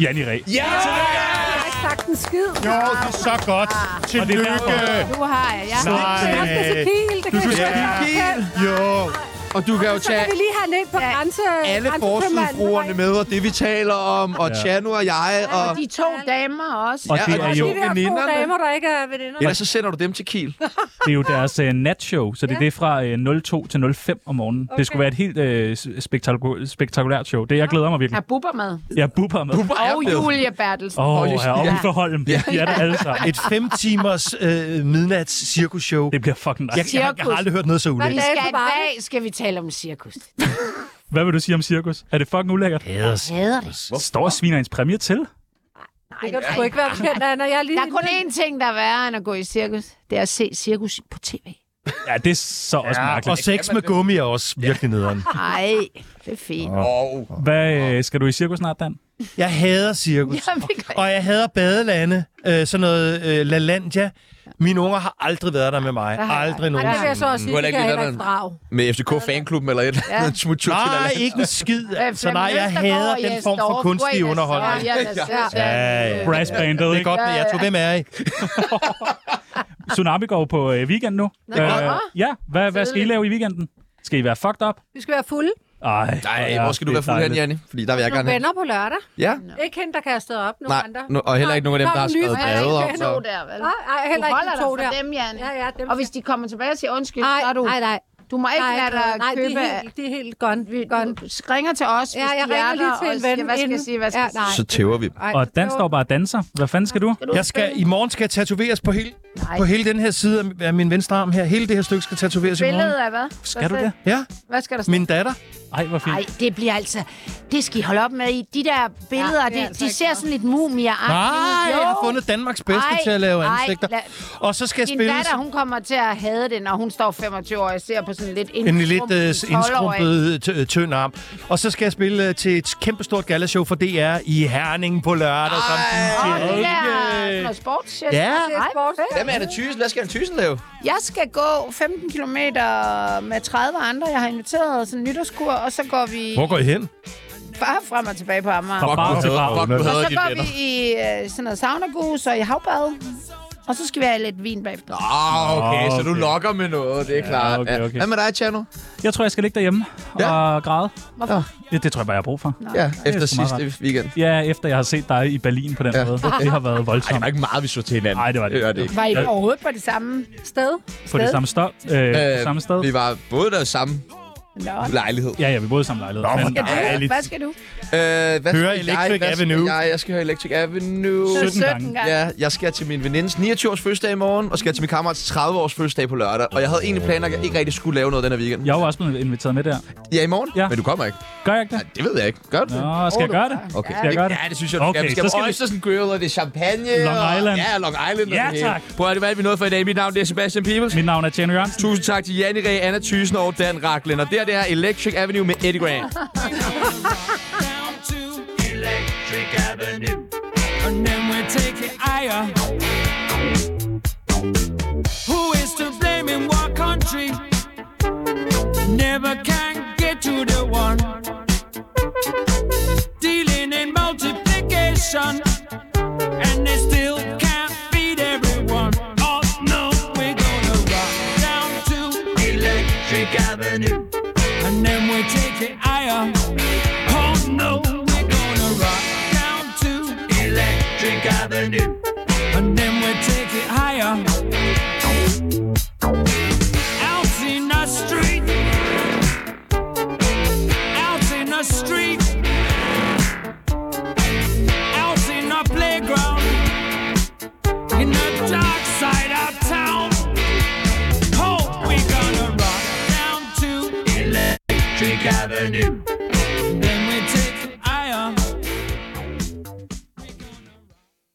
Speaker 1: Janni Ræ.
Speaker 2: Ja!
Speaker 3: Jeg har ikke sagt en skid.
Speaker 9: Jo, det er så godt. Tillykke.
Speaker 5: Nu har jeg. jeg har-
Speaker 9: Nej.
Speaker 3: Jeg skal til Kiel. Det kan vi
Speaker 9: skal
Speaker 3: ikke
Speaker 9: til
Speaker 3: gøre.
Speaker 2: Kiel.
Speaker 9: Jo.
Speaker 2: Og du kan jo
Speaker 3: Så
Speaker 2: tage
Speaker 3: kan vi lige have den ind på grænse.
Speaker 2: alle
Speaker 3: grænsefremanden.
Speaker 2: forsøgfruerne med, og det vi taler om, og
Speaker 1: Ja.
Speaker 2: Chano og jeg, og...
Speaker 5: Og de to damer også.
Speaker 1: Og
Speaker 2: Ja,
Speaker 1: det
Speaker 2: og
Speaker 1: er
Speaker 3: Og
Speaker 1: jo,
Speaker 3: de der to
Speaker 2: veninderne.
Speaker 3: damer, der ikke er veninder.
Speaker 2: Eller så sender du dem til Kiel.
Speaker 1: det er jo deres uh, natshow, så det er det fra uh, 02 til 05 om morgenen. Okay. Det skulle være et helt uh, spektakulær, spektakulært show. Det jeg glæder mig
Speaker 5: Er
Speaker 1: virkelig.
Speaker 5: Bubber med.
Speaker 1: Jeg bupper med.
Speaker 2: Bubber er
Speaker 5: Og
Speaker 2: blevet-
Speaker 5: Julia Bertelsen.
Speaker 1: Åh, oh,
Speaker 2: Hold
Speaker 1: her
Speaker 2: ja.
Speaker 1: oppe for Holm. Ja. De er det alle sammen.
Speaker 4: Et fem timers øh, midnats cirkusshow.
Speaker 1: Det bliver fucking
Speaker 4: Jeg,
Speaker 1: nice.
Speaker 4: jeg, jeg har aldrig hørt noget så
Speaker 5: Vi
Speaker 4: ulækkert.
Speaker 3: Hvad
Speaker 5: skal
Speaker 3: er
Speaker 5: i
Speaker 3: det for meget?
Speaker 5: dag skal vi tale om cirkus.
Speaker 1: Hvad vil du sige om cirkus? Er det fucking ulækkert?
Speaker 5: Hader det.
Speaker 1: Står og sviner ens præmie til?
Speaker 3: Det kan du sgu ikke være bekendt, Anna. Jeg er lige...
Speaker 5: Der er kun én ting, der er værre end at gå i cirkus. Det er at se cirkus på tv.
Speaker 1: Ja, det er så også
Speaker 4: Ja, og
Speaker 1: mærkeligt.
Speaker 4: sex med gummi er også virkelig nederen.
Speaker 5: Nej, det er fint.
Speaker 2: Og
Speaker 1: Hvad øh, skal du i cirkus snart, Dan?
Speaker 4: Jeg hader cirkus.
Speaker 5: Jamen, det gør
Speaker 4: Og jeg hader badelande. Øh, sådan noget øh, LaLandia. Mine unger har aldrig været der med mig.
Speaker 5: har jeg
Speaker 3: Ej,
Speaker 4: Aldrig
Speaker 3: det vil jeg
Speaker 4: nogensinde.
Speaker 3: så også sige,
Speaker 8: heller
Speaker 3: at
Speaker 8: ikke
Speaker 3: jeg
Speaker 8: lige
Speaker 3: heller
Speaker 8: været
Speaker 3: ikke drag.
Speaker 8: Med FCK-fanklubben eller et eller andet. Ja. Smut tur til
Speaker 4: Nej,
Speaker 8: Alaska.
Speaker 4: ikke en skid.
Speaker 5: jeg.
Speaker 4: Så nej, jeg hader den form for kunstig underholdning.
Speaker 5: Ja,
Speaker 4: Ja, ja.
Speaker 1: Brass bandet,
Speaker 4: Det er
Speaker 1: ikke?
Speaker 4: godt, men jeg tog, hvem er I?
Speaker 1: Tsunami går jo på øh, weekend nu. Øh,
Speaker 5: Nå, nå.
Speaker 1: ja, hvad, hvad skal I
Speaker 5: Tidligt.
Speaker 1: lave i weekenden? Skal I være fucked up?
Speaker 3: Vi skal være fulde.
Speaker 1: Ej,
Speaker 2: Nej, hvor skal du være fuld hen, Janni? Fordi der vil jeg gerne
Speaker 3: Nogle
Speaker 2: hen.
Speaker 3: venner på lørdag.
Speaker 2: Ja?
Speaker 3: Ikke hende, der kaster op. Nogle
Speaker 2: Nej,
Speaker 3: andre.
Speaker 2: nu- og heller ikke nogen af dem, der har
Speaker 3: Kom,
Speaker 2: skrevet
Speaker 3: nye
Speaker 2: breve om.
Speaker 3: venner.
Speaker 2: så-
Speaker 5: to der, vel?
Speaker 3: Nej, ej,
Speaker 5: Du
Speaker 3: heller ikke
Speaker 5: holder
Speaker 3: de
Speaker 5: dig
Speaker 3: to
Speaker 5: for
Speaker 3: der.
Speaker 5: dem, Jan.
Speaker 3: Ja, ja, dem
Speaker 5: Og hvis de kommer tilbage og siger undskyld,
Speaker 3: Nej,
Speaker 5: så er du...
Speaker 3: nej, nej.
Speaker 5: Du må ikke
Speaker 3: Nej,
Speaker 5: lade dig
Speaker 3: nej,
Speaker 5: købe...
Speaker 3: de er helt, de er helt gone. gone.
Speaker 5: Vi ringer til os, hvis
Speaker 3: Ja, jeg
Speaker 5: de er
Speaker 3: ringer lige
Speaker 5: der,
Speaker 3: til en
Speaker 5: og
Speaker 3: ven
Speaker 5: siger, hvad skal jeg
Speaker 3: inden.
Speaker 5: sige, hvad skal
Speaker 3: Ja,
Speaker 5: jeg sige?
Speaker 3: nej.
Speaker 2: Så tæver vi.
Speaker 3: Ej,
Speaker 1: Og Dan står bare og danser. Hvad fanden skal du?
Speaker 4: Jeg skal, I morgen skal jeg tatoveres på, hele,
Speaker 5: Nej.
Speaker 4: på hele den her side af- af min venstre arm her. Hele det her stykke skal tatoveres i morgen.
Speaker 5: Billedet af hvad?
Speaker 1: Skal du det?
Speaker 4: Ja,
Speaker 5: Hvad skal der stå?
Speaker 4: min datter.
Speaker 1: Ej, hvor fint.
Speaker 5: Nej, det bliver altså... Det skal I holde op med. I. De der billeder,
Speaker 3: Ja,
Speaker 5: ja,
Speaker 3: det er altså
Speaker 5: de, altså de
Speaker 3: ikke
Speaker 5: ser
Speaker 3: godt.
Speaker 5: sådan lidt mumier
Speaker 4: Nej, jeg har fundet Danmarks bedste
Speaker 5: Ej,
Speaker 4: til at lave
Speaker 5: ej,
Speaker 4: ansigter.
Speaker 5: lad-
Speaker 4: Og så skal jeg
Speaker 5: Din
Speaker 4: spille
Speaker 5: datter, hun kommer til at have det, når hun står 25 år og ser på sådan lidt
Speaker 4: en lidt øh,
Speaker 5: indskrumpet.
Speaker 4: indskrumpet øh, tynd arm. Og så skal jeg spille øh, til et kæmpestort gallashow for DR i Herning på lørdag. Som
Speaker 5: Åh,
Speaker 4: DJ.
Speaker 5: det der sådan noget sportshit.
Speaker 4: Ja.
Speaker 3: det er
Speaker 5: Ej,
Speaker 3: sports.
Speaker 2: Hvem er det tysen? Hvad skal en tysen lave?
Speaker 5: Jeg skal gå 15 km med 30 andre. Jeg har inviteret sådan en nytårskur, og så går vi
Speaker 4: Hvor går I hen?
Speaker 5: bare frem og tilbage på Amager.
Speaker 1: Fra bar til bar.
Speaker 8: Fuck, du
Speaker 5: Og
Speaker 8: havde
Speaker 5: så
Speaker 8: de
Speaker 5: går
Speaker 8: venner.
Speaker 5: vi i øh, sådan noget saunagus og i havbad. Og så skal vi have lidt vin bagefter.
Speaker 2: Ah, okay,
Speaker 1: Nå,
Speaker 2: så du
Speaker 1: okay.
Speaker 2: lokker med noget, det er klart.
Speaker 1: okay,
Speaker 2: Ja.
Speaker 1: okay.
Speaker 2: Hvad med dig, Chano?
Speaker 1: Jeg tror, jeg skal ligge derhjemme
Speaker 2: Ja.
Speaker 1: og græde.
Speaker 5: Hvorfor?
Speaker 1: Ja, det tror jeg bare, jeg har brug for.
Speaker 2: Ja, efter
Speaker 1: sgu meget
Speaker 2: sidste weekend.
Speaker 1: Ja, efter jeg har set dig i Berlin på den
Speaker 2: Ja,
Speaker 1: måde. Det har været
Speaker 8: Ej, det
Speaker 1: voldsomt.
Speaker 8: var ikke meget, vi så til hinanden.
Speaker 1: Nej, det var det.
Speaker 2: Det er det ikke.
Speaker 5: Var I overhovedet på det samme?
Speaker 3: Sted.
Speaker 1: På det
Speaker 5: sted?
Speaker 1: samme, stop, øh, på samme sted.
Speaker 2: Vi var både der samme
Speaker 5: Nå.
Speaker 2: lejlighed.
Speaker 1: Ja, ja, vi boede i samme lejlighed.
Speaker 4: Nå,
Speaker 1: Men,
Speaker 4: hvor
Speaker 5: Skal du?
Speaker 1: dejligt.
Speaker 5: Hvad skal du?
Speaker 2: Øh, hvad
Speaker 4: Høre
Speaker 2: skal
Speaker 4: Electric
Speaker 2: hvad skal
Speaker 4: Avenue.
Speaker 2: Jeg, jeg skal høre Electric Avenue.
Speaker 1: 17 gange.
Speaker 5: 17 gange.
Speaker 2: Ja, jeg skal til min venindes 29-års fødselsdag i morgen, og skal til min kammerats 30-års fødselsdag på lørdag. Og jeg havde egentlig planer, at jeg ikke rigtig skulle lave noget den her weekend.
Speaker 1: Jeg er jo også blevet inviteret med der.
Speaker 2: Ja, i morgen?
Speaker 1: Ja.
Speaker 2: Men du kommer ikke.
Speaker 1: Gør jeg ikke det?
Speaker 2: Nej, det ved jeg ikke. Gør du det?
Speaker 1: Nå, skal jeg gøre det?
Speaker 2: Okay.
Speaker 1: Skal jeg gøre det?
Speaker 2: Ja, det synes jeg, du
Speaker 1: Okay,
Speaker 2: okay, skal. Vi
Speaker 1: så
Speaker 2: skal så
Speaker 1: skal vi-
Speaker 2: Oysters and Grill, og det er champagne.
Speaker 1: Long Island.
Speaker 2: Og, ja, Long Island.
Speaker 1: Ja,
Speaker 2: og det hele.
Speaker 1: tak.
Speaker 2: Prøv at det var alt, vi nåede for i dag. Mit navn det er Sebastian Peebles.
Speaker 1: Mit navn er Tjerno Jørgensen.
Speaker 2: Tusind tak til Janne Ræ, Anna Thysen og Dan Raklen. Og der, det er Electric Avenue med Eddie Grant.
Speaker 10: Who is to blame in what country? Never can get to the one. Dealing in multiplication, and they still can't feed everyone. Oh no, we're gonna rock down to Electric Avenue, and then we take it higher. Oh no, we're gonna rock down to Electric Avenue, and then we take it higher out in the street. Out in the street. Out in the playground. In the dark side of town. Oh, we gonna rock down to Electric Avenue.